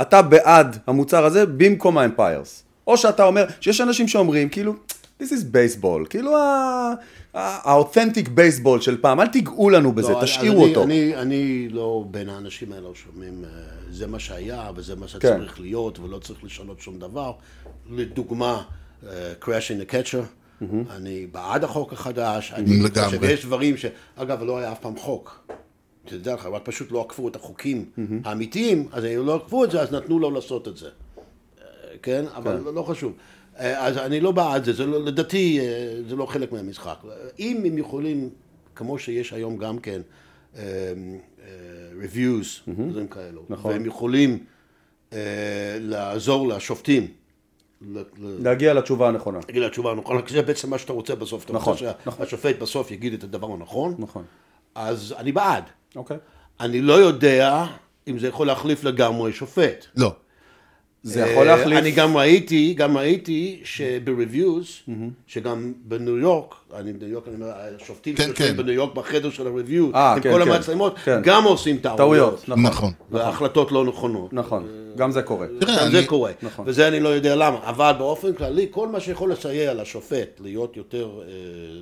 [SPEAKER 2] אתה בעד המוצר הזה במקום האמפיירס? או שאתה אומר, שיש אנשים שאומרים כאילו, this is baseball, כאילו ה- ה- ה-authentic baseball של פעם, אל תיגעו לנו בזה,
[SPEAKER 1] לא,
[SPEAKER 2] תשאירו
[SPEAKER 1] אני-
[SPEAKER 2] אותו.
[SPEAKER 1] אני, אני לא בין האנשים האלה שאומרים, אה, זה מה שהיה וזה מה
[SPEAKER 2] כן.
[SPEAKER 1] שצריך להיות ולא צריך לשנות שום דבר. לדוגמה, אה, Crash in the Catcher, אני בעד החוק החדש, אני
[SPEAKER 4] לגמרי.
[SPEAKER 1] חושב, יש דברים ש... אגב, לא היה אף פעם חוק. תדע לך, רק פשוט לא עקפו את החוקים האמיתיים, אז הם לא עקפו את זה, אז נתנו לו לעשות את זה. כן? אבל לא- לא חשוב. אה, אז אני לא בעד זה, זה לא, לדעתי אה, זה לא חלק מהמשחק. אם הם יכולים, כמו שיש היום גם כן, אה, אה, reviews,
[SPEAKER 2] Mhm.
[SPEAKER 1] דברים כאלו,
[SPEAKER 2] נכון.
[SPEAKER 1] והם יכולים אה, לעזור לשופטים, ל- ל-
[SPEAKER 2] להגיע לתשובה הנכונה.
[SPEAKER 1] תגיד לה תשובה הנכונה, כי זה בעצם מה שאתה רוצה בסוף. אתה
[SPEAKER 2] נכון,
[SPEAKER 1] רוצה
[SPEAKER 2] נכון.
[SPEAKER 1] שהשופט בסוף יגיד את הדבר הנכון,
[SPEAKER 2] נכון,
[SPEAKER 1] אז אני בעד.
[SPEAKER 2] אוקיי.
[SPEAKER 1] אני לא יודע אם זה יכול להחליף לגמרי שופט.
[SPEAKER 4] לא.
[SPEAKER 2] זה יכול להחליף...
[SPEAKER 1] אה, אני גם ראיתי, גם ראיתי שברוויוז,
[SPEAKER 2] Mm-hmm.
[SPEAKER 1] שגם בניו יורק, אני בניו יורק, אני אומר, השופטים
[SPEAKER 4] כן,
[SPEAKER 1] שיושבים
[SPEAKER 4] כן.
[SPEAKER 1] בניו יורק בחדר של הרוויוז,
[SPEAKER 2] אה,
[SPEAKER 1] עם
[SPEAKER 2] כן,
[SPEAKER 1] כל
[SPEAKER 2] כן.
[SPEAKER 1] המצלמות,
[SPEAKER 2] כן.
[SPEAKER 1] גם עושים טעויות.
[SPEAKER 2] טעויות, נכון.
[SPEAKER 4] נכון.
[SPEAKER 1] והחלטות לא נכונות.
[SPEAKER 2] נכון, גם זה קורה.
[SPEAKER 4] תראה,
[SPEAKER 1] גם זה
[SPEAKER 4] אני-
[SPEAKER 1] קורה,
[SPEAKER 2] נכון.
[SPEAKER 1] וזה אני לא יודע למה, אבל באופן כללי, כל מה שיכול לסייע לשופט להיות יותר אה,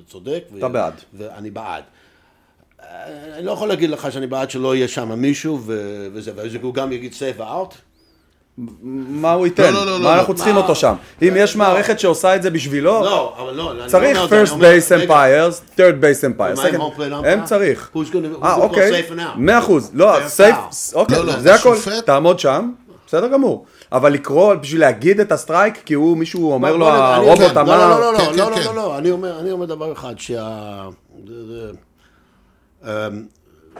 [SPEAKER 1] צודק, ו-
[SPEAKER 2] אתה בעד.
[SPEAKER 1] ואני בעד. אה, אני לא יכול להגיד לך שאני בעד שלא יהיה שם מישהו, ו- וזה, ואז הוא גם יגיד save out,
[SPEAKER 2] מה הוא ייתן?
[SPEAKER 4] לא, לא,
[SPEAKER 2] מה
[SPEAKER 4] לא,
[SPEAKER 2] אנחנו
[SPEAKER 4] לא.
[SPEAKER 2] צריכים
[SPEAKER 1] מה? אה,
[SPEAKER 2] אותו שם? אם יש מערכת שעושה את זה בשבילו,
[SPEAKER 1] לא, אבל לא, אני לא
[SPEAKER 2] צריך
[SPEAKER 1] אומר את זה, אני
[SPEAKER 2] first
[SPEAKER 1] אומר,
[SPEAKER 2] base
[SPEAKER 1] רגע,
[SPEAKER 2] umpires, third base umpires.
[SPEAKER 1] מה עם
[SPEAKER 2] second-
[SPEAKER 1] home plate umpire?
[SPEAKER 2] הם צריך.
[SPEAKER 1] Who's gonna- who's
[SPEAKER 2] אה,
[SPEAKER 1] gonna call
[SPEAKER 2] אוקיי,
[SPEAKER 1] safe now?
[SPEAKER 2] מאה אחוז. לא,
[SPEAKER 1] Fair
[SPEAKER 2] סייף,
[SPEAKER 1] foul.
[SPEAKER 2] אוקיי,
[SPEAKER 4] לא, לא,
[SPEAKER 2] זה הכל.
[SPEAKER 4] השופט-
[SPEAKER 2] תעמוד שם, בסדר גמור. אבל לקרוא בשביל להגיד את הסטרייק, כי הוא, מישהו אומר לו,
[SPEAKER 1] בוא נ- אני-
[SPEAKER 2] הרובוט
[SPEAKER 1] לא,
[SPEAKER 2] אמר...
[SPEAKER 1] לא, לא, לא,
[SPEAKER 4] כן,
[SPEAKER 1] לא, לא,
[SPEAKER 4] כן,
[SPEAKER 1] לא,
[SPEAKER 4] כן.
[SPEAKER 1] לא, לא, אני אומר, אני אומר דבר אחד, שה... זה- זה- אמ,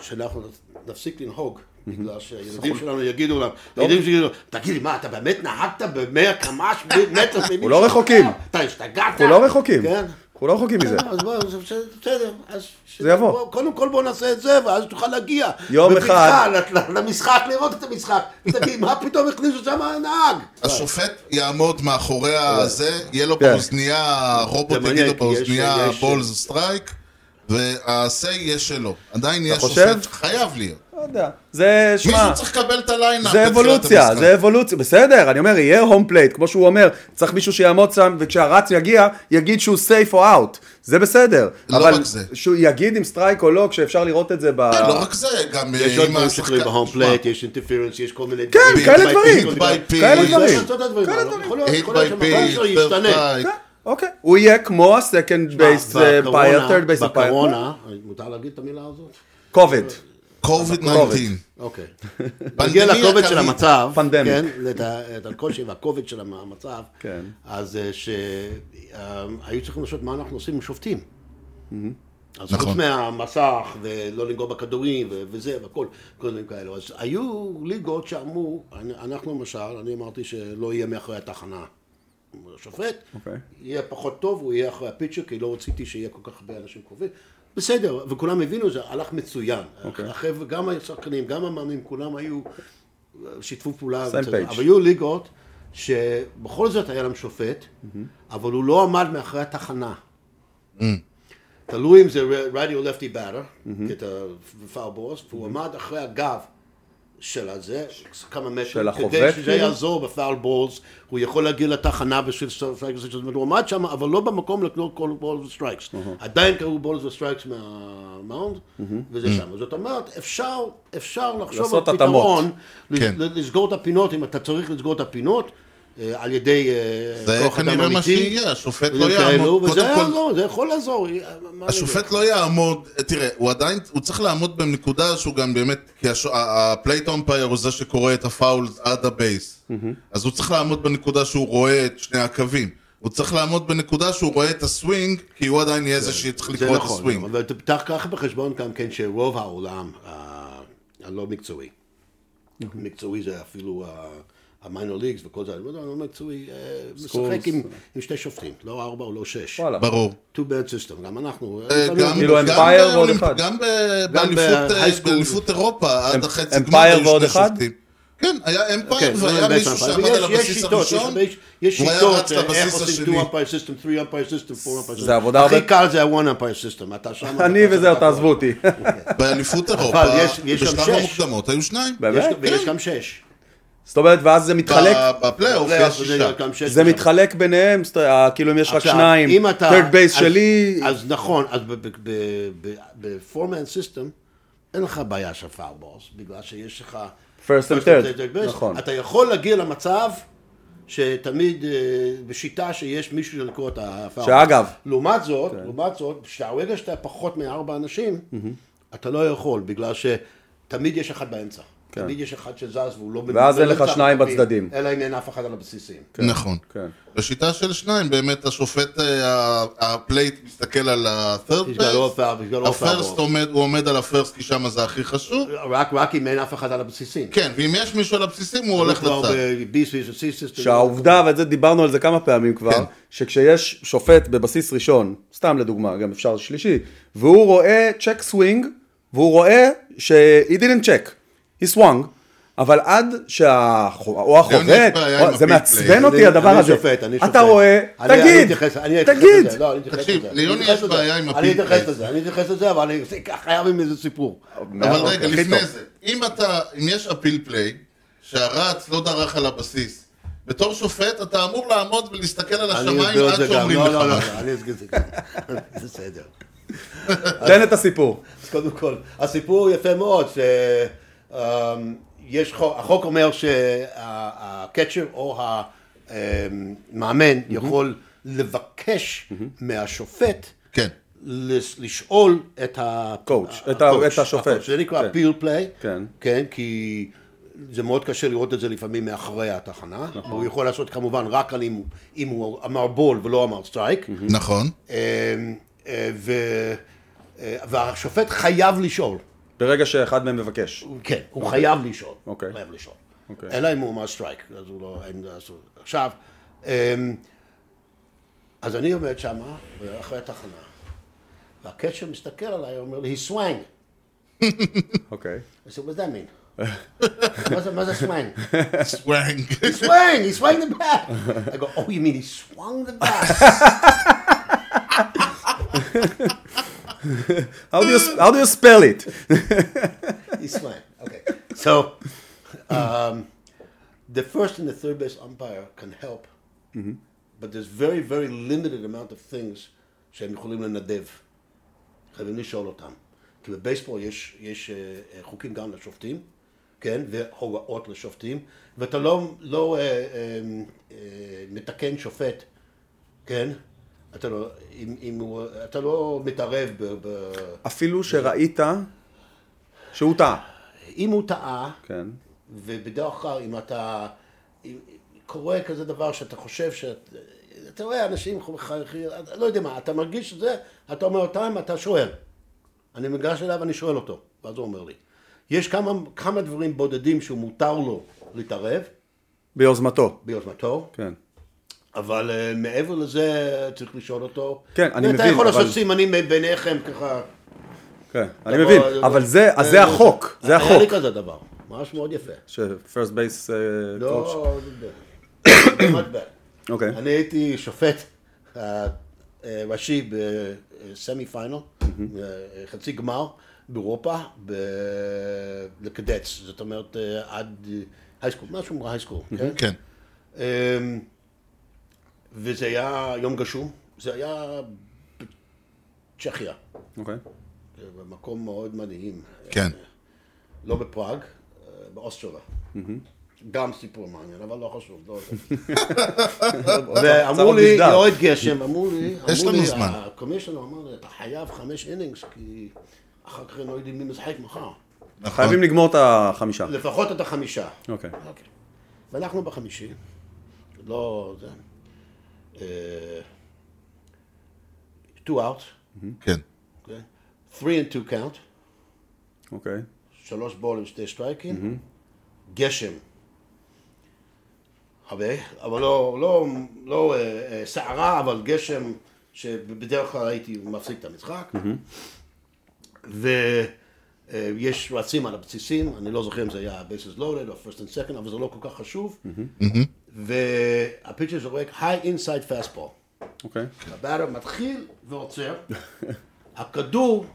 [SPEAKER 1] שאנחנו נפסיק לנהוג. בגלל שהילדים
[SPEAKER 2] נכון.
[SPEAKER 1] שלנו יגידו להם,
[SPEAKER 2] לא.
[SPEAKER 1] הילדים שלי יגידו, תגיד לי, מה, אתה באמת נהגת ב-100 קמ"ש בלי- מטר ממי
[SPEAKER 2] אנחנו לא רחוקים.
[SPEAKER 1] אתה השתגעת?
[SPEAKER 2] אנחנו לא רחוקים.
[SPEAKER 1] כן.
[SPEAKER 2] אנחנו לא רחוקים מזה.
[SPEAKER 1] אז בוא, אז בסדר, אז...
[SPEAKER 2] זה יבוא.
[SPEAKER 1] בוא, קודם כל בוא נעשה את זה, ואז תוכל להגיע.
[SPEAKER 2] יום
[SPEAKER 1] בבטחה
[SPEAKER 2] אחד.
[SPEAKER 1] ל- למשחק, לראות את המשחק. תגיד, מה פתאום הכניסו שם נהג?
[SPEAKER 4] השופט יעמוד מאחורי הזה, יהיה לו
[SPEAKER 2] כן.
[SPEAKER 4] באוזנייה, הרובוט
[SPEAKER 1] זה מעניין,
[SPEAKER 4] יגיד לו
[SPEAKER 1] כי יש-
[SPEAKER 4] באוזנייה
[SPEAKER 1] יש-
[SPEAKER 4] בולס סטרייק, והסיי יש שלו. עדיין יש
[SPEAKER 2] חושב?
[SPEAKER 4] שופט, חייב להיות.
[SPEAKER 2] לא יודע. זה, שמע...
[SPEAKER 4] מישהו צריך לקבל את הליינאפ.
[SPEAKER 2] זה
[SPEAKER 4] בתחילת
[SPEAKER 2] אבולוציה,
[SPEAKER 4] המשחק.
[SPEAKER 2] זה אבולוציה, בסדר, אני אומר, יהיה הום פלייט, כמו שהוא אומר, צריך מישהו שיעמוד שם, וכשהרץ יגיע, יגיד שהוא סייף או אאוט, זה בסדר.
[SPEAKER 4] לא
[SPEAKER 2] אבל
[SPEAKER 4] רק זה.
[SPEAKER 2] שהוא יגיד אם סטרייק או לא, כשאפשר לראות את זה ב...
[SPEAKER 4] כן, לא רק זה, גם
[SPEAKER 1] יש
[SPEAKER 4] אה,
[SPEAKER 1] עוד
[SPEAKER 4] אם
[SPEAKER 1] דברים כאילו.
[SPEAKER 4] השחקן-
[SPEAKER 1] שקורים בהום
[SPEAKER 4] תשמע,
[SPEAKER 1] פלייט, יש אינטרפרנס, יש כל מיני
[SPEAKER 2] כן, כאלה
[SPEAKER 1] Hit by
[SPEAKER 2] דברים,
[SPEAKER 1] pitch,
[SPEAKER 4] by pitch.
[SPEAKER 2] כאלה דברים.
[SPEAKER 1] יש עוד דברים, אבל יכול להיות-
[SPEAKER 4] hit
[SPEAKER 1] יכול להיות
[SPEAKER 4] by pitch,
[SPEAKER 1] שהמבט שלו
[SPEAKER 4] third
[SPEAKER 1] ישתנה.
[SPEAKER 4] strike.
[SPEAKER 2] כן, אוקיי. הוא יהיה כמו ה-Second Base
[SPEAKER 1] בקורונה-
[SPEAKER 2] Empire, Third Base Empire,
[SPEAKER 1] בקורונה, מותר להגיד את המילה הזאת?
[SPEAKER 2] קובד.
[SPEAKER 4] COVID-19.
[SPEAKER 1] אוקיי. נגיע לכובד של
[SPEAKER 4] קריא.
[SPEAKER 1] המצב,
[SPEAKER 2] פנדמיק.
[SPEAKER 1] כן, את ה- את הקושי והכובד של המ- המצב,
[SPEAKER 2] כן.
[SPEAKER 1] אז אה, שהיו צריכים לשאול מה אנחנו עושים עם שופטים. אז
[SPEAKER 4] נכון.
[SPEAKER 1] חוץ מהמסך, ולא לנגוע בכדורים, ו- וזה, והכל, כל מיני כאלו. אז היו ליגות שאמרו, אנ- אנחנו למשל, אני אמרתי שלא יהיה מאחורי התחנה. השופט,
[SPEAKER 2] אוקיי.
[SPEAKER 1] יהיה פחות טוב, הוא יהיה אחרי הפיצ'ר, כי לא רציתי שיהיה כל כך הרבה אנשים קרובים. בסדר, וכולם הבינו, זה הלך מצוין.
[SPEAKER 2] אוקיי.
[SPEAKER 1] החבר'ה, גם השחקנים, גם המאמנים, כולם היו, שיתפו פעולה.
[SPEAKER 2] Same
[SPEAKER 1] בסדר.
[SPEAKER 2] page.
[SPEAKER 1] אבל היו ליגות שבכל זאת היה להם שופט,
[SPEAKER 2] Mm-hmm.
[SPEAKER 1] אבל הוא לא עמד מאחורי התחנה. תלוי אם זה רדיו לפטי באטר,
[SPEAKER 2] Mm-hmm.
[SPEAKER 1] כי אתה פאו בוס, והוא עמד אחרי הגב. של הזה, כמה מטרים,
[SPEAKER 2] החובט,
[SPEAKER 1] כדי שזה
[SPEAKER 2] כאילו?
[SPEAKER 1] יעזור בפאול בולס, הוא יכול להגיע לתחנה בשביל סטרייקס, זאת אומרת, הוא עמד שם, אבל לא במקום לקנות כל בולס וסטרייקס. עדיין קראו בולס וסטרייקס מהמאונד, וזה שם. זאת אומרת, אפשר, אפשר לחשוב
[SPEAKER 2] לעשות
[SPEAKER 1] על
[SPEAKER 2] התאמות.
[SPEAKER 1] פתרון, לס-
[SPEAKER 4] כן.
[SPEAKER 1] ל- לסגור את הפינות, אם אתה צריך לסגור את הפינות, אה, על ידי אה,
[SPEAKER 4] זה
[SPEAKER 1] כוח אדם
[SPEAKER 4] כנראה מה
[SPEAKER 1] אמיתי.
[SPEAKER 4] שיהיה, השופט לא
[SPEAKER 1] ודברים כאלו,
[SPEAKER 4] יעמוד.
[SPEAKER 1] וזה
[SPEAKER 4] קודם כל,
[SPEAKER 1] יעזור, זה יכול לעזור. אה, מה אני יודע?
[SPEAKER 4] השופט לא יעמוד, תראה, הוא עדיין, הוא צריך לעמוד בנקודה שהוא גם באמת, כי הש- ה- הפלייט אומפייר הוא זה שקורא את הפאול עד הבייס. אז הוא צריך לעמוד בנקודה שהוא רואה את שני הקווים. הוא צריך לעמוד בנקודה שהוא רואה את הסווינג, כי הוא עדיין יהיה זה שצריך
[SPEAKER 1] זה
[SPEAKER 4] לקרוא את
[SPEAKER 1] נכון,
[SPEAKER 4] הסווינג.
[SPEAKER 1] אבל תפתח ככה בחשבון גם כן שרוב העולם אה, הלא מקצועי, מקצועי זה אפילו המיינר ליגס וכל זה, לא מקצועי, אה, משחק עם עם שתי שופטים, לא ארבע או לא שש.
[SPEAKER 2] וואלה.
[SPEAKER 4] ברור.
[SPEAKER 1] two bad system, גם אנחנו.
[SPEAKER 4] אה,
[SPEAKER 1] לפעמים-
[SPEAKER 4] גם-
[SPEAKER 2] כאילו
[SPEAKER 4] גם
[SPEAKER 2] אמפייר
[SPEAKER 4] באולימפ-
[SPEAKER 2] ועוד אחד.
[SPEAKER 4] גם ב- באליפות, אה,
[SPEAKER 1] ב-high school.
[SPEAKER 4] באליפות אירופה, עד
[SPEAKER 2] אמפ-
[SPEAKER 4] החצי גמר
[SPEAKER 2] אמפייר
[SPEAKER 4] היו
[SPEAKER 2] ועוד
[SPEAKER 4] שני
[SPEAKER 2] אחד?
[SPEAKER 4] שופטים. כן, היה אמפייר
[SPEAKER 1] כן,
[SPEAKER 4] והיה
[SPEAKER 1] אבל
[SPEAKER 4] מישהו
[SPEAKER 1] יש-
[SPEAKER 4] שעמד על
[SPEAKER 1] יש
[SPEAKER 4] הבסיס
[SPEAKER 1] שיטות, יש
[SPEAKER 4] הראשון,
[SPEAKER 1] הרבה- יש
[SPEAKER 4] הוא היה
[SPEAKER 1] שיטות,
[SPEAKER 4] רץ
[SPEAKER 1] אה, איך
[SPEAKER 4] לבסיס
[SPEAKER 1] עושים
[SPEAKER 4] השני.
[SPEAKER 1] two umpire system, three umpire system, four umpire system.
[SPEAKER 2] זה עבודה
[SPEAKER 1] הכי
[SPEAKER 2] הרבה-
[SPEAKER 1] קל זה ה-one umpire system, אתה שם.
[SPEAKER 2] אני
[SPEAKER 1] אתה שם,
[SPEAKER 2] וזהו,
[SPEAKER 1] אתה
[SPEAKER 2] תעזבו
[SPEAKER 1] פה.
[SPEAKER 2] אותי.
[SPEAKER 4] באליפות אירופה,
[SPEAKER 1] יש- יש גם
[SPEAKER 4] בשלב
[SPEAKER 1] שש.
[SPEAKER 4] המוקדמות היו שניים.
[SPEAKER 2] באמת?
[SPEAKER 1] יש- ויש גם שש.
[SPEAKER 2] זאת אומרת, ואז זה מתחלק,
[SPEAKER 4] ב- בפלייאוף יש
[SPEAKER 1] זה
[SPEAKER 4] שישה.
[SPEAKER 1] גם שש
[SPEAKER 2] זה
[SPEAKER 1] ושם.
[SPEAKER 2] מתחלק ביניהם, זאת- אה, כאילו אם יש רק
[SPEAKER 1] עכשיו,
[SPEAKER 2] שניים,
[SPEAKER 1] אם אתה-
[SPEAKER 2] Third Base
[SPEAKER 1] אז-
[SPEAKER 2] שלי,
[SPEAKER 1] אז נכון, אז בפורמן סיסטם, אין לך בעיה של פאול בוס, בגלל שיש לך...
[SPEAKER 2] First and
[SPEAKER 1] first
[SPEAKER 2] third,
[SPEAKER 1] base.
[SPEAKER 2] נכון.
[SPEAKER 1] אתה יכול להגיע למצב שתמיד, אה, בשיטה שיש מישהו שלקרוא את הפאול.
[SPEAKER 2] שאגב. כן.
[SPEAKER 1] לעומת זאת, לעומת זאת, כשהרגע שאתה פחות מארבע אנשים, אתה לא יכול, בגלל שתמיד יש אחד באמצע. תמיד יש אחד שזז והוא לא...
[SPEAKER 2] כן. ואז אין לך
[SPEAKER 1] באמצע,
[SPEAKER 2] שניים בצדדים.
[SPEAKER 1] אלא אם אין אף אחד על הבסיסים.
[SPEAKER 4] נכון.
[SPEAKER 2] כן.
[SPEAKER 4] בשיטה של שניים, באמת השופט, אה, ה- הפלייט מסתכל על ה-third
[SPEAKER 1] ישגלו הפער,
[SPEAKER 4] base,
[SPEAKER 1] ישגלו הפער
[SPEAKER 4] הפרסט
[SPEAKER 1] בו.
[SPEAKER 4] עומד, הוא עומד על הפרסט כי שם זה הכי חשוב,
[SPEAKER 1] רק, רק אם אין אף אחד על הבסיסים.
[SPEAKER 4] כן, ואם יש מישהו על הבסיסים הוא הולך
[SPEAKER 1] כבר
[SPEAKER 4] לצד.
[SPEAKER 1] ב-B סביב C סיסטם.
[SPEAKER 2] שהעובדה, ואת זה דיברנו על זה כמה פעמים
[SPEAKER 4] כן.
[SPEAKER 2] כבר, שכשיש שופט בבסיס ראשון, סתם לדוגמה, גם אפשר שלישי, והוא רואה צ'ק סווינג, והוא רואה ש- he didn't check, he swung, אבל עד שה... או
[SPEAKER 4] גם יש
[SPEAKER 2] החובט,
[SPEAKER 4] בעיה עם
[SPEAKER 2] או- זה
[SPEAKER 4] הביג
[SPEAKER 2] מעצבן
[SPEAKER 4] פליי.
[SPEAKER 2] אותי
[SPEAKER 1] אני-
[SPEAKER 2] הדבר
[SPEAKER 1] אני
[SPEAKER 2] הזה.
[SPEAKER 1] שופט, אני שופט.
[SPEAKER 2] אתה רואה,
[SPEAKER 1] אני- אני
[SPEAKER 2] תגיד,
[SPEAKER 1] אתייחס- אני אתייחס
[SPEAKER 2] תגיד.
[SPEAKER 1] לזה, לא, אני אתייחס
[SPEAKER 4] תקשיב,
[SPEAKER 1] לזה. אני
[SPEAKER 4] ליוני
[SPEAKER 1] אתייחס
[SPEAKER 4] יש
[SPEAKER 1] לזה.
[SPEAKER 4] בעיה עם
[SPEAKER 1] אני
[SPEAKER 4] הפיל
[SPEAKER 1] אתייחס
[SPEAKER 4] פלייט.
[SPEAKER 1] לזה, אני אתייחס לזה, אבל אני חייב עם איזה סיפור.
[SPEAKER 4] אבל
[SPEAKER 1] לא, אה,
[SPEAKER 2] אוקיי,
[SPEAKER 4] רגע,
[SPEAKER 2] הכי
[SPEAKER 4] לפני
[SPEAKER 2] טוב.
[SPEAKER 4] זה, אם אתה, אם יש אפיל פליי, שהרץ לא דרך על הבסיס, בתור שופט אתה אמור לעמוד ולהסתכל על
[SPEAKER 1] אני
[SPEAKER 4] השמיים
[SPEAKER 1] אסביר את
[SPEAKER 4] עד
[SPEAKER 1] זה גם.
[SPEAKER 4] שאומרים
[SPEAKER 1] לא, לא, לא,
[SPEAKER 4] לך.
[SPEAKER 1] לא, אני אסביר את זה גם. בסדר.
[SPEAKER 2] תן את הסיפור.
[SPEAKER 1] אז קודם כל, הסיפור יפה מאוד, ש... אמ, יש חוק, החוק אומר שהקצ'ר או המאמן יכול לבקש מהשופט
[SPEAKER 4] כן.
[SPEAKER 1] לש- לשאול את ה...
[SPEAKER 2] Coach,
[SPEAKER 1] ה-
[SPEAKER 2] את ה-
[SPEAKER 1] coach,
[SPEAKER 2] את השופט.
[SPEAKER 1] ה-coach. זה נקרא
[SPEAKER 2] כן.
[SPEAKER 1] peer play,
[SPEAKER 2] כן.
[SPEAKER 1] כן, כי זה מאוד קשה לראות את זה לפעמים מאחורי התחנה.
[SPEAKER 2] נכון.
[SPEAKER 1] הוא יכול לעשות כמובן רק על אם, אם הוא אמר בול ולא אמר סטרייק.
[SPEAKER 2] Mm-hmm.
[SPEAKER 4] נכון.
[SPEAKER 1] אמ, אה, ו- אה, והשופט חייב לשאול.
[SPEAKER 2] ברגע שאחד מהם מבקש.
[SPEAKER 1] כן, הוא חייב לשאול.
[SPEAKER 2] אוקיי.
[SPEAKER 1] חייב לשאול.
[SPEAKER 2] אוקיי.
[SPEAKER 1] אלא אם הוא אמר סטרייק, אז הוא לא... אין- אז הוא- עכשיו, אמ, אז אני עומד שם, אחרי התחנה, והקשר מסתכל עליי, אומר לי, he swang.
[SPEAKER 2] אוקיי.
[SPEAKER 1] I said, what does that mean? מה זה- מה זה swang?
[SPEAKER 4] סוואנג.
[SPEAKER 1] He swang, he swung the bat. I go, oh, you mean he swung the bat?
[SPEAKER 2] How do you, s- how do you spell it?
[SPEAKER 1] He's fine. Okay. So, um, the first and the third base umpire can help, Mm-hmm. but there's very, very limited amount of things שהם יכולים לנדב. חייבים לשאול אותם. כי בבייסבול יש, יש אה, אה, חוקים גם לשופטים, כן, והוראות לשופטים, ואתה לא, לא אה, אה, אה, מתקן שופט, כן? אתה לא, אם, אם הוא, אתה לא מתערב ב... ב
[SPEAKER 2] אפילו שראית שהוא טעה.
[SPEAKER 1] אם הוא טעה,
[SPEAKER 2] כן.
[SPEAKER 1] ובדרך כלל אם אתה... אם- קורה כזה דבר שאתה חושב שאת... אתה רואה אנשים חייכים, לא יודע מה, אתה מרגיש את זה, אתה אומר אותם, אתה שואל. אני ניגש אליו, אני שואל אותו, ואז הוא אומר לי. יש כמה, כמה דברים בודדים שמותר לו להתערב,
[SPEAKER 2] ביוזמתו.
[SPEAKER 1] ביוזמתו,
[SPEAKER 2] כן.
[SPEAKER 1] אבל uh, מעבר לזה צריך לשאול אותו.
[SPEAKER 2] כן, אני
[SPEAKER 1] ואתה
[SPEAKER 2] מבין,
[SPEAKER 1] יכול
[SPEAKER 2] אבל-
[SPEAKER 1] לעשות סימנים ביניכם ככה. אה,
[SPEAKER 2] כן. אני מבין. אבל זה, אז זה החוק. זה
[SPEAKER 1] היה לי
[SPEAKER 2] החוק.
[SPEAKER 1] כזה דבר, ממש מאוד יפה.
[SPEAKER 2] ש-first base אה, coach.
[SPEAKER 1] לא, באמת בעיה.
[SPEAKER 2] אוקיי.
[SPEAKER 1] אני הייתי שופט אה, אה, ראשי בסמי פיינל, אה, חצי גמר באירופה, ב- לקדץ, זאת אומרת אה, עד הייסקול, משהו כמו הייסקול, כן?
[SPEAKER 4] כן.
[SPEAKER 1] אמ, וזה היה יום גשום, זה היה בצ'כיה,
[SPEAKER 2] אוקיי.
[SPEAKER 1] זה במקום מאוד מדהים,
[SPEAKER 4] כן.
[SPEAKER 1] לא בפראג, אה, באוסטרובה. גם סיפור מעניין, אבל לא חשוב. לא ואמרו לי,
[SPEAKER 2] נשדר.
[SPEAKER 1] יורד גשם, אמרו לי,
[SPEAKER 4] יש
[SPEAKER 1] אמרו
[SPEAKER 4] לנו
[SPEAKER 1] לי,
[SPEAKER 4] זמן.
[SPEAKER 1] הקומישיונר אמר לי, אתה חייב חמש אינינגס, כי אחר כך הם לא יודעים מי משחק מחר.
[SPEAKER 4] נכון.
[SPEAKER 2] חייבים לגמור את החמישה.
[SPEAKER 1] לפחות את החמישה.
[SPEAKER 2] אוקיי.
[SPEAKER 1] אוקיי. ואנחנו בחמישי, לא זה, אה, two outs,
[SPEAKER 4] כן.
[SPEAKER 1] אוקיי? three and two count,
[SPEAKER 2] אוקיי.
[SPEAKER 1] שלוש בולים, שתי סטרייקים, גשם. הרבה, אבל לא, לא, לא אה, אה, סערה, אבל גשם שבדרך כלל הייתי מפסיק את המשחק. ויש רצים על הבסיסים, אני לא זוכר אם זה היה bases loaded או first and second, אבל זה לא כל כך חשוב. והפיצ'ר זורק high inside fastball.
[SPEAKER 2] אוקיי.
[SPEAKER 1] הבארר מתחיל ועוצר. הכדור,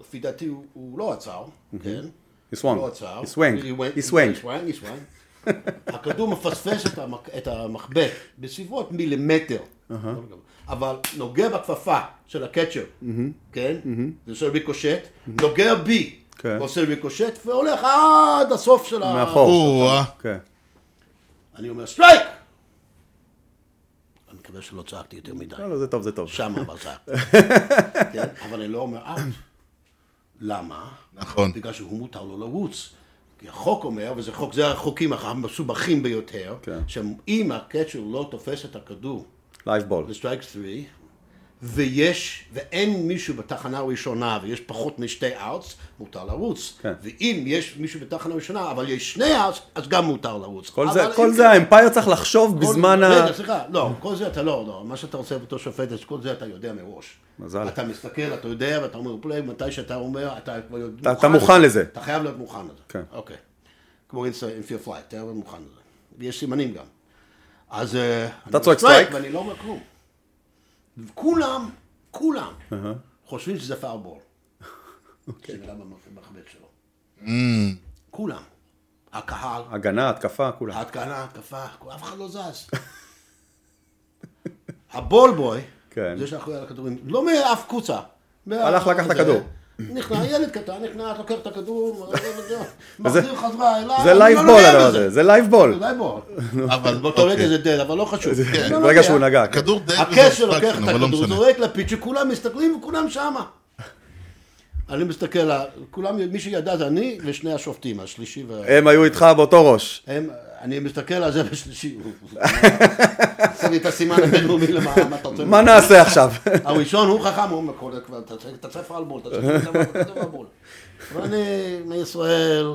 [SPEAKER 1] לפי דעתי הוא- הוא לא עצר, כן?
[SPEAKER 2] Mhm. He swung.
[SPEAKER 1] לא עצר.
[SPEAKER 2] He swung.
[SPEAKER 1] went-
[SPEAKER 2] He swung.
[SPEAKER 1] He swung. He swung. הכדור מפספס את המק- את המחבט בסביבות מילימטר.
[SPEAKER 2] Uh-huh.
[SPEAKER 1] אבל נוגע בכפפה של הקצ'ר,
[SPEAKER 2] Mm-hmm.
[SPEAKER 1] כן? זה עושה ריקושט, נוגע בי,
[SPEAKER 2] כן.
[SPEAKER 1] עושה ריקושט, והולך עד הסוף של ה...
[SPEAKER 2] מאחור.
[SPEAKER 4] או-אה.
[SPEAKER 2] אוקיי.
[SPEAKER 1] אני אומר סטרייק! אני מקווה שלא צעקתי יותר מדי.
[SPEAKER 2] לא, לא, זה טוב, זה טוב.
[SPEAKER 1] שם אבל צעקתי. כן? אבל אני לא אומר אאוט. למה?
[SPEAKER 4] נכון.
[SPEAKER 1] בגלל שהוא מותר לו לרוץ. כי החוק אומר, וזה חוק, זה החוקים המסובכים ביותר,
[SPEAKER 2] כן.
[SPEAKER 1] שאם הקצ'ר לא תופס את הכדור
[SPEAKER 2] לייב בול.
[SPEAKER 1] לסטרייק 3, ויש, ואין מישהו בתחנה הראשונה, ויש פחות משתי אאוטס, מותר לרוץ.
[SPEAKER 2] כן.
[SPEAKER 1] ואם יש מישהו בתחנה הראשונה, אבל יש שני אאוטס, אז גם מותר לרוץ.
[SPEAKER 2] כל זה,
[SPEAKER 1] אבל
[SPEAKER 2] כל
[SPEAKER 1] אם- כן-
[SPEAKER 2] זה, האמפייר צריך לחשוב בזמן ה...
[SPEAKER 1] רגע, סליחה, לא, כל זה אתה לא, לא, מה שאתה עושה בתור שופט, אז כל זה אתה יודע מראש.
[SPEAKER 2] מזל.
[SPEAKER 1] אתה מסתכל, אתה יודע, ואתה אומר פליי, מתי שאתה אומר, אתה כבר
[SPEAKER 2] אתה- אתה מוכן לזה.
[SPEAKER 1] אתה חייב להיות מוכן לזה.
[SPEAKER 2] כן.
[SPEAKER 1] אוקיי. כמו אינסטר פלייט, אתה חייב להיות מוכן לזה. ויש סימנים גם. אז... אה, אני
[SPEAKER 2] צועק
[SPEAKER 1] בסטרייק,
[SPEAKER 2] סטרייק?
[SPEAKER 1] ואני לא אומר כלום. כולם, כולם,
[SPEAKER 2] Uh-huh.
[SPEAKER 1] חושבים שזה פאר בול.
[SPEAKER 2] אוקיי.
[SPEAKER 1] זה נראה במחבט שלו. כולם. הקהל,
[SPEAKER 2] הגנה, התקפה, כולם.
[SPEAKER 1] ההתקנה, התקפה, אף אחד לא זז. הבולבוי,
[SPEAKER 2] כן.
[SPEAKER 1] זה שאחראי על הכדורים, לא מאף קבוצה. מה-
[SPEAKER 2] הלך, לקח את
[SPEAKER 1] זה-
[SPEAKER 2] הכדור.
[SPEAKER 1] נכנע, ילד קטן, נכנע, לוקח את הכדור, "לא,
[SPEAKER 2] וזה-
[SPEAKER 1] מחזיר חזרה אליי.
[SPEAKER 2] זה
[SPEAKER 1] אני
[SPEAKER 2] לייב
[SPEAKER 1] לא
[SPEAKER 2] בול
[SPEAKER 1] נוגע
[SPEAKER 2] הדבר
[SPEAKER 1] בזה.
[SPEAKER 2] הזה, זה לייב בול.
[SPEAKER 1] זה לייב בול.
[SPEAKER 4] אבל
[SPEAKER 1] באותו רגע
[SPEAKER 4] אוקיי.
[SPEAKER 1] זה דד, אבל לא חשוב. אני לא
[SPEAKER 2] ברגע
[SPEAKER 1] נוגע.
[SPEAKER 2] שהוא נגע. כן.
[SPEAKER 4] כדור די
[SPEAKER 1] הקשר לוקח את
[SPEAKER 4] אבל לא
[SPEAKER 1] הכדור,
[SPEAKER 4] משנה.
[SPEAKER 1] זורק לפיץ' שכולם מסתכלים וכולם שמה. אני מסתכל, על- כולם, מי שידע זה אני ושני השופטים, השלישי וה...
[SPEAKER 2] הם היו איתך באותו ראש.
[SPEAKER 1] הם, אני מסתכל על זה בשלישי, הוא הוא- עושה לי את הסימן הבינלאומי למה מה אתה רוצה.
[SPEAKER 2] מה נעשה עכשיו?
[SPEAKER 1] הראשון הוא חכם, הוא אומר, "כל- כבר, אתה צריך- אתה צריך פרלבול, אתה צריך לדבר פרלבול. ואני מישראל,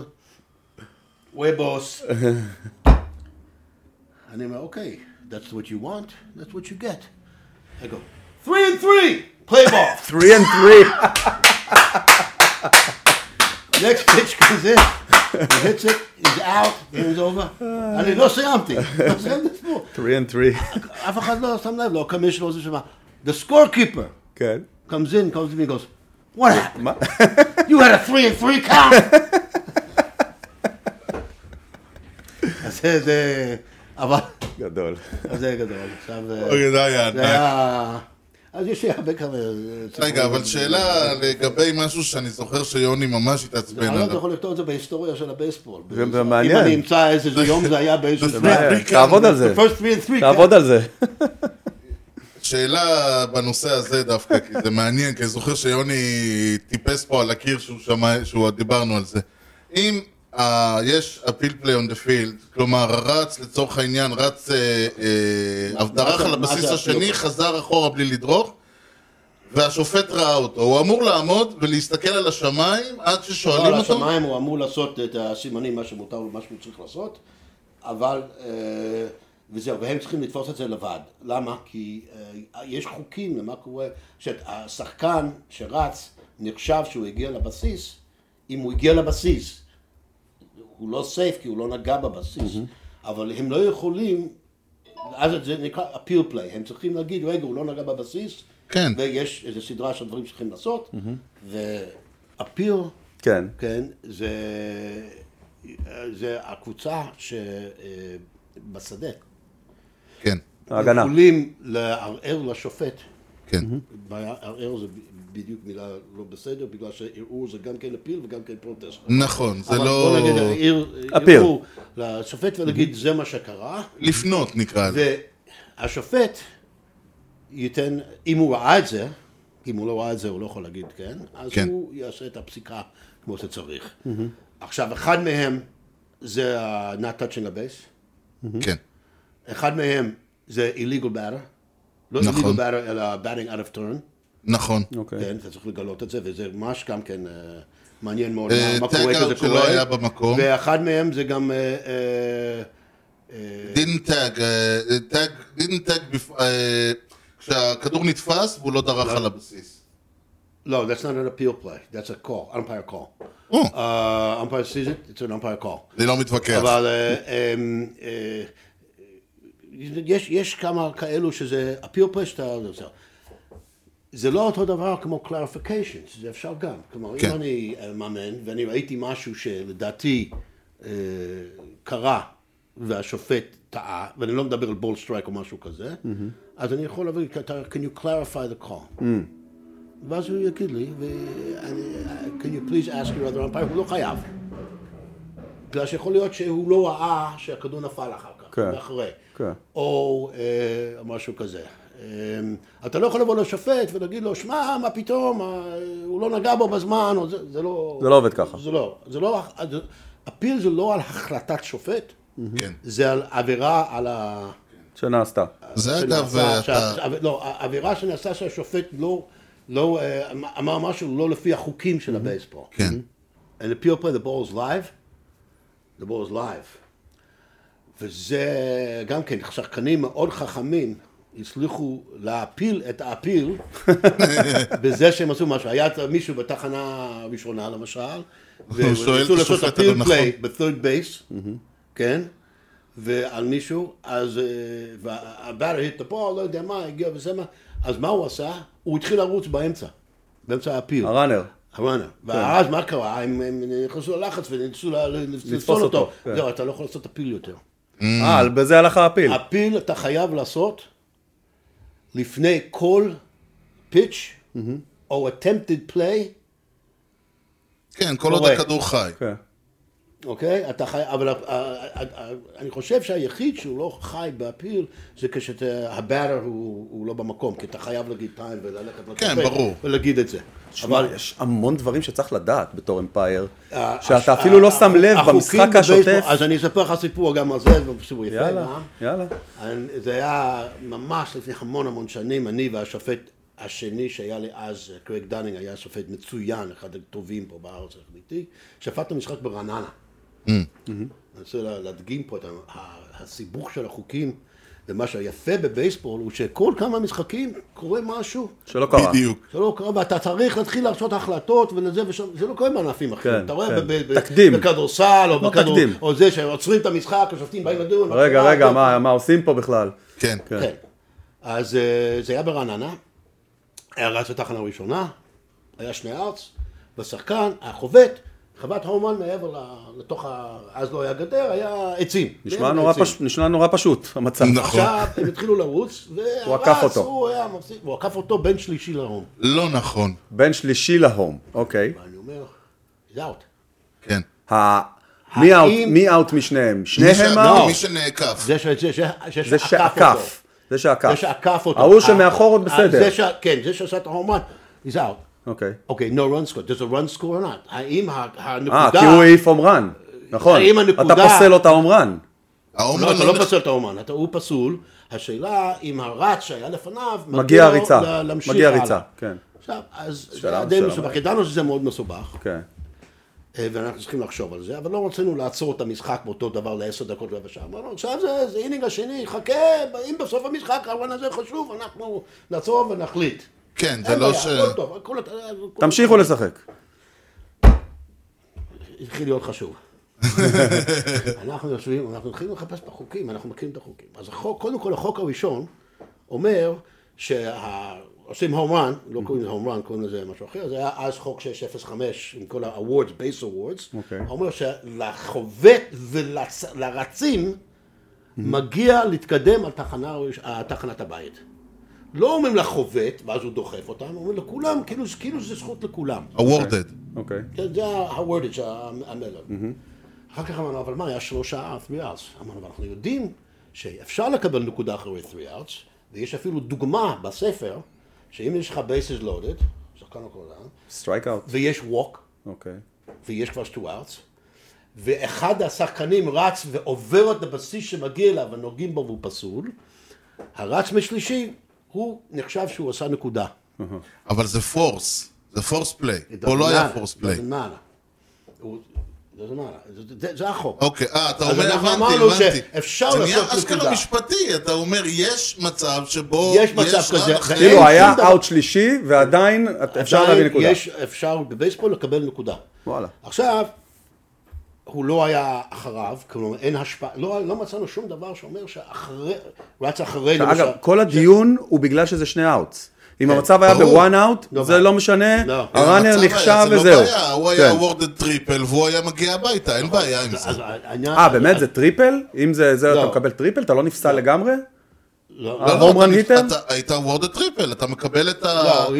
[SPEAKER 1] ובוס. אני אומר, אוקיי, that's what you want, that's what you get. I go, three and three, play ball.
[SPEAKER 2] 3 and 3.
[SPEAKER 1] next pitch comes in, he hits it, he's out, game's over. אני לא סיימתי, לא סיימתי את עצמו.
[SPEAKER 2] 3 and 3.
[SPEAKER 1] אף אחד לא שם לב, לא הקמישנר זה שמה. The scorekeeper
[SPEAKER 2] כן.
[SPEAKER 1] comes in, comes to me, and goes, "What happened?
[SPEAKER 2] מה?
[SPEAKER 1] You had a three and three count." אז זה, זה, אבל,
[SPEAKER 2] גדול.
[SPEAKER 1] אז זה גדול. עכשיו, אה,
[SPEAKER 4] אוקיי, זה היה
[SPEAKER 1] זה
[SPEAKER 4] ענק.
[SPEAKER 1] היה... אז יש לי הרבה כמה...
[SPEAKER 4] רגע, אבל שאלה לגבי משהו שאני זוכר שיוני ממש התעצבן
[SPEAKER 1] אני לא
[SPEAKER 4] עליו.
[SPEAKER 1] יכול לכתוב את זה בהיסטוריה של הבייסבול.
[SPEAKER 2] זה- זה מעניין.
[SPEAKER 1] אם אני אמצא איזה יום זה היה באיזשהו...
[SPEAKER 4] זה
[SPEAKER 1] זמן.
[SPEAKER 4] מעניין.
[SPEAKER 2] תעבוד על זה.
[SPEAKER 1] The first three and three
[SPEAKER 2] תעבוד על זה.
[SPEAKER 4] שאלה בנושא הזה דווקא, כי זה מעניין, כי אני זוכר שיוני טיפס פה על הקיר שהוא שמע, שהוא, דיברנו על זה. אם uh, יש אפיל פליי און דה פילד, כלומר רץ לצורך העניין, רץ, אה, אה, דרך
[SPEAKER 1] זה-
[SPEAKER 4] על
[SPEAKER 1] מה
[SPEAKER 4] הבסיס
[SPEAKER 1] זה
[SPEAKER 4] השני,
[SPEAKER 1] appeal?
[SPEAKER 4] חזר אחורה בלי לדרוך, והשופט ראה אותו. הוא אמור לעמוד ולהסתכל על השמיים עד
[SPEAKER 1] לא, על
[SPEAKER 4] ששואלים אותו.
[SPEAKER 1] השמיים הוא אמור לעשות את הסימנים, מה שמותר לו, מה שהוא צריך לעשות, אבל, אה, וזהו, והם צריכים לתפוס את זה לבד. למה? כי אה, יש חוקים למה קורה, שהשחקן שרץ נחשב שהוא הגיע לבסיס, אם הוא הגיע לבסיס, הוא לא סייף כי הוא לא נגע בבסיס,
[SPEAKER 4] Mm-hmm.
[SPEAKER 1] אבל הם לא יכולים, אז זה נקרא appeal play, הם צריכים להגיד, רגע, הוא לא נגע בבסיס,
[SPEAKER 4] כן. Mm-hmm.
[SPEAKER 1] ויש איזו סדרה של דברים שצריכים לעשות, ואפיל
[SPEAKER 2] כן.
[SPEAKER 1] כן, זה, זה הקבוצה אה, שבשדה.
[SPEAKER 4] כן,
[SPEAKER 2] ההגנה.
[SPEAKER 1] יכולים לערער לשופט,
[SPEAKER 4] כן.
[SPEAKER 1] ערער זה בדיוק מילה לא בסדר, בגלל שערעור זה גם כן אפיל וגם כן פרוטסט.
[SPEAKER 4] נכון, זה
[SPEAKER 1] אבל
[SPEAKER 4] לא...
[SPEAKER 1] בוא נגיד אה, ערער-
[SPEAKER 2] אפיל.
[SPEAKER 1] ערעור לשופט ולהגיד זה מה שקרה,
[SPEAKER 4] לפנות נקרא לזה.
[SPEAKER 1] והשופט ייתן, אם הוא ראה את זה, אם הוא לא ראה את זה הוא לא יכול להגיד כן, אז
[SPEAKER 4] כן.
[SPEAKER 1] הוא יעשה את הפסיקה כמו שצריך. עכשיו, אחד מהם זה ה-not touching the base,
[SPEAKER 4] כן,
[SPEAKER 1] אחד מהם זה illegal batter, לא
[SPEAKER 4] נכון.
[SPEAKER 1] illegal batter אלא batting out of turn,
[SPEAKER 4] נכון.
[SPEAKER 2] אוקיי.
[SPEAKER 1] כן, אתה צריך לגלות את זה, וזה ממש גם כן אה, מעניין מאוד
[SPEAKER 4] אה,
[SPEAKER 1] מה- מה
[SPEAKER 4] tag
[SPEAKER 1] קורה
[SPEAKER 4] out
[SPEAKER 1] כשזה
[SPEAKER 4] שלא
[SPEAKER 1] קורה.
[SPEAKER 4] היה במקום.
[SPEAKER 1] ואחד מהם זה גם... אה, אה,
[SPEAKER 4] דין טאג, אה, טאג, דין טאג, בפ- אה, כשהכדור נתפס והוא לא דרך על הבסיס.
[SPEAKER 1] No, that's not an appeal play. That's a call, umpire call.
[SPEAKER 4] או,
[SPEAKER 1] Uh, umpire sees it, it's an umpire call.
[SPEAKER 4] אני לא מתווכח.
[SPEAKER 1] אבל אה, אה, אה, יש, יש כמה כאלו שזה appeal play שאתה... זה- זה- זה לא אותו דבר כמו clarifications, זה אפשר גם. כלומר,
[SPEAKER 4] כן.
[SPEAKER 1] אם אני אה, מאמן ואני ראיתי משהו שלדעתי אה, קרה והשופט טעה, ואני לא מדבר על בול סטרייק או משהו כזה, אז אני יכול להגיד, can you clarify the call? ואז הוא יגיד לי, ו... אני- can you please ask your other umpire, הוא לא חייב. בגלל שיכול להיות שהוא לא ראה שהכדור נפל אחר כך,
[SPEAKER 2] כן.
[SPEAKER 1] אחרי.
[SPEAKER 2] כן.
[SPEAKER 1] או אה, משהו כזה. אה, אתה לא יכול לבוא לשופט ולהגיד לו, שמע, מה פתאום, אה, הוא לא נגע בו בזמן, או זה, זה לא...
[SPEAKER 2] זה לא עובד ככה.
[SPEAKER 1] זה לא. זה לא... הפיל זה לא על החלטת שופט,
[SPEAKER 4] כן.
[SPEAKER 1] זה על עבירה על ה...
[SPEAKER 2] שנעשתה.
[SPEAKER 4] זה אגב, אה,
[SPEAKER 1] שנעשה,
[SPEAKER 4] אתה...
[SPEAKER 1] שה- לא, העבירה שנעשה שהשופט לא, לא, אה, אמר משהו לא לפי החוקים של הבייסבול. Mm-hmm.
[SPEAKER 4] כן.
[SPEAKER 1] And the pure play, the ball is live, the ball is live. וזה גם כן, שחקנים מאוד חכמים הצליחו להפיל את האפיל בזה שהם עשו משהו. היה מישהו בתחנה הראשונה למשל,
[SPEAKER 4] הוא שואל את
[SPEAKER 1] ורצו לעשות
[SPEAKER 4] השופט,
[SPEAKER 1] appeal
[SPEAKER 4] אבל נכון. Mm-hmm.
[SPEAKER 1] play ב-third base, כן? ועל מישהו, אז אה, הבאר hit the ball, לא יודע מה, הגיע וזה מה, אז מה הוא עשה? הוא התחיל לרוץ באמצע, באמצע האפיל.
[SPEAKER 2] הראנר. כן.
[SPEAKER 1] הוואנה. ואז מה קרה? הם הם נכנסו ללחץ וניסו ל- לפסול
[SPEAKER 2] אותו,
[SPEAKER 1] אותו.
[SPEAKER 2] כן.
[SPEAKER 1] זהו, אתה לא יכול לעשות את הפיל יותר.
[SPEAKER 2] אה, על- בזה הלך הפיל.
[SPEAKER 1] הפיל אתה חייב לעשות לפני כל פיץ' או attempted play,
[SPEAKER 4] כן, כל עוד
[SPEAKER 1] קורה.
[SPEAKER 4] הכדור חי.
[SPEAKER 2] כן.
[SPEAKER 1] אוקיי? אתה חי... אבל ה- ה- ה- ה- אה, אני חושב שהיחיד שהוא לא חי בהפיל זה כשהבאטר הוא הוא לא במקום, כי אתה חייב להגיד טיים וללכת
[SPEAKER 4] כן,
[SPEAKER 1] לקפה
[SPEAKER 4] ברור.
[SPEAKER 1] ולהגיד את זה.
[SPEAKER 2] אבל יש המון דברים שצריך לדעת בתור אמפייר,
[SPEAKER 1] ה-
[SPEAKER 2] שאתה
[SPEAKER 1] הש-
[SPEAKER 2] אפילו לא שם לב
[SPEAKER 1] אה, החוקים
[SPEAKER 2] במשחק
[SPEAKER 1] בבייסבול-
[SPEAKER 2] השוטף.
[SPEAKER 1] אז אני אספר לך סיפור גם על זה, שהוא יפה.
[SPEAKER 2] יאללה,
[SPEAKER 1] מה?
[SPEAKER 2] יאללה.
[SPEAKER 1] אני- זה היה ממש לפני המון המון שנים, אני והשופט השני שהיה לי אז, קרייג דנינג, היה שופט מצוין, אחד הטובים פה בארץ, יחד איתי, שפטנו משחק ברעננה.
[SPEAKER 2] Mm-hmm.
[SPEAKER 1] אני רוצה לה- להדגים פה את ה- ה- הסיבוך של החוקים, ומה שהיפה בבייסבול הוא שכל כמה משחקים קורה משהו
[SPEAKER 2] שלא קרה.
[SPEAKER 4] בדיוק.
[SPEAKER 1] שלא קרה, ואתה צריך להתחיל לעשות החלטות ולזה ושם, זה לא קורה בענפים אחרים.
[SPEAKER 2] כן,
[SPEAKER 1] אתה רואה,
[SPEAKER 2] כן.
[SPEAKER 1] ב- ב- ב-
[SPEAKER 2] תקדים.
[SPEAKER 1] בכדורסל, או
[SPEAKER 2] כמו
[SPEAKER 1] בכדור,
[SPEAKER 2] תקדים.
[SPEAKER 1] או זה שעוצרים את המשחק, השופטים באים לדון.
[SPEAKER 2] רגע,
[SPEAKER 1] מה-
[SPEAKER 2] רגע,
[SPEAKER 1] אוקיי.
[SPEAKER 2] מה- מה עושים פה בכלל?
[SPEAKER 4] כן.
[SPEAKER 1] כן. אז אה, זה היה ברעננה, היה רץ בתחנה הראשונה, היה שני ארץ, בשחקן, החובט, חוות האומן מעבר ל- לתוך ה... אז לא היה גדר, היה עצים.
[SPEAKER 2] נשמע
[SPEAKER 1] מעבר
[SPEAKER 2] נורא
[SPEAKER 1] לעצים.
[SPEAKER 2] פשוט, נשמע נורא פשוט, המצב.
[SPEAKER 4] נכון.
[SPEAKER 1] עכשיו הם התחילו לרוץ, והרץ,
[SPEAKER 2] עקף אותו.
[SPEAKER 1] הוא היה מפסיק, הוא עקף אותו בין שלישי להום.
[SPEAKER 4] לא נכון.
[SPEAKER 2] בין שלישי להום, אוקיי.
[SPEAKER 1] ואני אומר, זה אאוט.
[SPEAKER 4] כן.
[SPEAKER 2] ה-
[SPEAKER 1] האם-
[SPEAKER 2] מי אאוט- מי אאוט משניהם?
[SPEAKER 4] מי ש-
[SPEAKER 2] שניהם
[SPEAKER 4] לא,
[SPEAKER 2] אאוט?
[SPEAKER 4] מי שנעקף.
[SPEAKER 1] זה ש- זה ש-
[SPEAKER 2] זה שעקף. זה שעקף.
[SPEAKER 1] זה שעקף אותו.
[SPEAKER 2] ההוא שמאחור עוד
[SPEAKER 1] אה,
[SPEAKER 2] בסדר.
[SPEAKER 1] זה ש- כן, זה שעשה את ההומן, he's out.
[SPEAKER 2] אוקיי.
[SPEAKER 1] אוקיי, no run score, does a run score or not? האם ה-
[SPEAKER 2] אה,
[SPEAKER 1] הנקודה...
[SPEAKER 2] כי הוא העיף עומרן. נכון.
[SPEAKER 1] האם הנקודה-
[SPEAKER 2] אתה פוסל אותה עומרן.
[SPEAKER 1] לא,
[SPEAKER 4] האומנם
[SPEAKER 1] אתה לא
[SPEAKER 4] נח-
[SPEAKER 1] פוסל את האומן, אתה- הוא פסול. השאלה אם הרץ שהיה לפניו,
[SPEAKER 2] מגיע
[SPEAKER 1] לו
[SPEAKER 2] הריצה.
[SPEAKER 1] ל- להמשיך
[SPEAKER 2] מגיע
[SPEAKER 1] הלאה.
[SPEAKER 2] הריצה, כן.
[SPEAKER 1] עכשיו, אז זה
[SPEAKER 2] שאלה-
[SPEAKER 1] היה די
[SPEAKER 2] שאלה
[SPEAKER 1] מסובך.
[SPEAKER 2] בעיה.
[SPEAKER 1] ידענו שזה מאוד מסובך,
[SPEAKER 2] כן.
[SPEAKER 1] אה, ואנחנו צריכים לחשוב על זה, אבל לא רצינו לעצור את המשחק באותו דבר לעשר דקות רבע שעה. אמרנו, עכשיו זה, זה אינינג השני, חכה, אם בסוף המשחק הרעיון הזה חשוב, אנחנו נעצור ונחליט.
[SPEAKER 4] כן, זה
[SPEAKER 1] אין
[SPEAKER 4] לא
[SPEAKER 1] בעיה,
[SPEAKER 4] ש...
[SPEAKER 1] הכל טוב, הכל- הכל-
[SPEAKER 2] תמשיכו לשחק.
[SPEAKER 1] התחיל להיות חשוב. אנחנו יושבים, אנחנו מתחילים לחפש בחוקים, אנחנו מכירים את החוקים. אז החוק, קודם כל החוק הראשון אומר שעושים הום רן, לא קוראים לזה הום רן, קוראים לזה משהו אחר, זה היה אז חוק 605 עם כל ה-awards, base awards,
[SPEAKER 2] אוקיי.
[SPEAKER 1] אומר שלחובט ולרצים מגיע להתקדם על תחנה, הראש- אה, תחנת הבית. לא אומרים לחובט, ואז הוא דוחף אותם, אומרים לכולם, כאילו, כאילו זה זכות לכולם.
[SPEAKER 4] awarded.
[SPEAKER 2] אוקיי.
[SPEAKER 1] זה זה ה-wordage, המלל.
[SPEAKER 4] Mm-hmm.
[SPEAKER 1] אחר כך אמרנו, אבל מה, היה שלושה 3 outs. אמרנו, אבל אנחנו יודעים שאפשר לקבל נקודה אחרי 3 outs, ויש אפילו דוגמה בספר, שאם יש לך bases loaded, שחקן הקורדן,
[SPEAKER 2] סטרייק אאוט.
[SPEAKER 1] ויש walk,
[SPEAKER 2] אוקיי.
[SPEAKER 1] ויש כבר 2 outs, ואחד השחקנים רץ ועובר את הבסיס שמגיע אליו ונוגעים בו והוא פסול, הרץ משלישי, הוא נחשב שהוא עשה נקודה.
[SPEAKER 4] אבל זה פורס. זה פורס פליי.
[SPEAKER 1] It
[SPEAKER 4] פה לא
[SPEAKER 1] doesn't
[SPEAKER 4] היה
[SPEAKER 1] matter,
[SPEAKER 4] פורס
[SPEAKER 1] it
[SPEAKER 4] פליי.
[SPEAKER 1] doesn't matter. הוא- it doesn't matter. זה- זה- זה החוק.
[SPEAKER 4] אוקיי, אה, אתה
[SPEAKER 1] אז
[SPEAKER 4] אומר,
[SPEAKER 1] אנחנו
[SPEAKER 4] הבנתי,
[SPEAKER 1] אמרנו
[SPEAKER 4] הבנתי.
[SPEAKER 1] שאפשר
[SPEAKER 4] זה נהיה
[SPEAKER 1] לעשות
[SPEAKER 4] אשכרה
[SPEAKER 1] נקודה.
[SPEAKER 4] משפטי, אתה אומר, יש מצב שבו...
[SPEAKER 1] יש מצב
[SPEAKER 4] רן
[SPEAKER 1] כזה,
[SPEAKER 4] אחר-
[SPEAKER 1] ואין-
[SPEAKER 2] כאילו היה
[SPEAKER 1] שום דבר.
[SPEAKER 2] אאוט שלישי, ועדיין אפשר
[SPEAKER 1] עדיין
[SPEAKER 2] להביא נקודה.
[SPEAKER 1] יש, אפשר בבייסבול לקבל נקודה.
[SPEAKER 2] וואלה.
[SPEAKER 1] עכשיו, הוא לא היה אחריו, כלומר אין השפעה, לא, לא מצאנו שום דבר שאומר שאחרי, רץ אחרי,
[SPEAKER 2] אגב, כל הדיון הוא בגלל שזה שני אאוטס. אם המצב היה
[SPEAKER 4] כן. ברור.
[SPEAKER 2] בוואן אאוט,
[SPEAKER 1] לא
[SPEAKER 2] זה
[SPEAKER 1] בעיה.
[SPEAKER 2] לא משנה,
[SPEAKER 1] לא.
[SPEAKER 2] הראנר
[SPEAKER 4] המצב היה,
[SPEAKER 2] נחשב
[SPEAKER 4] זה לא
[SPEAKER 2] וזהו.
[SPEAKER 4] בעיה, הוא
[SPEAKER 2] כן.
[SPEAKER 4] היה awarded טריפל והוא היה מגיע הביתה, אין בעיה עם זה.
[SPEAKER 1] אז העניין-
[SPEAKER 2] אה, באמת זה טריפל? אם זה, זה
[SPEAKER 1] לא.
[SPEAKER 2] אתה מקבל טריפל? אתה לא נפסל לגמרי?
[SPEAKER 1] לא,
[SPEAKER 2] אה,
[SPEAKER 1] לא,
[SPEAKER 4] לא,
[SPEAKER 2] הום
[SPEAKER 4] אתה
[SPEAKER 2] רן
[SPEAKER 4] נפ-
[SPEAKER 2] היטר?
[SPEAKER 4] אתה- היית awarded טריפל, אתה מקבל את ה...
[SPEAKER 1] לא, הוא-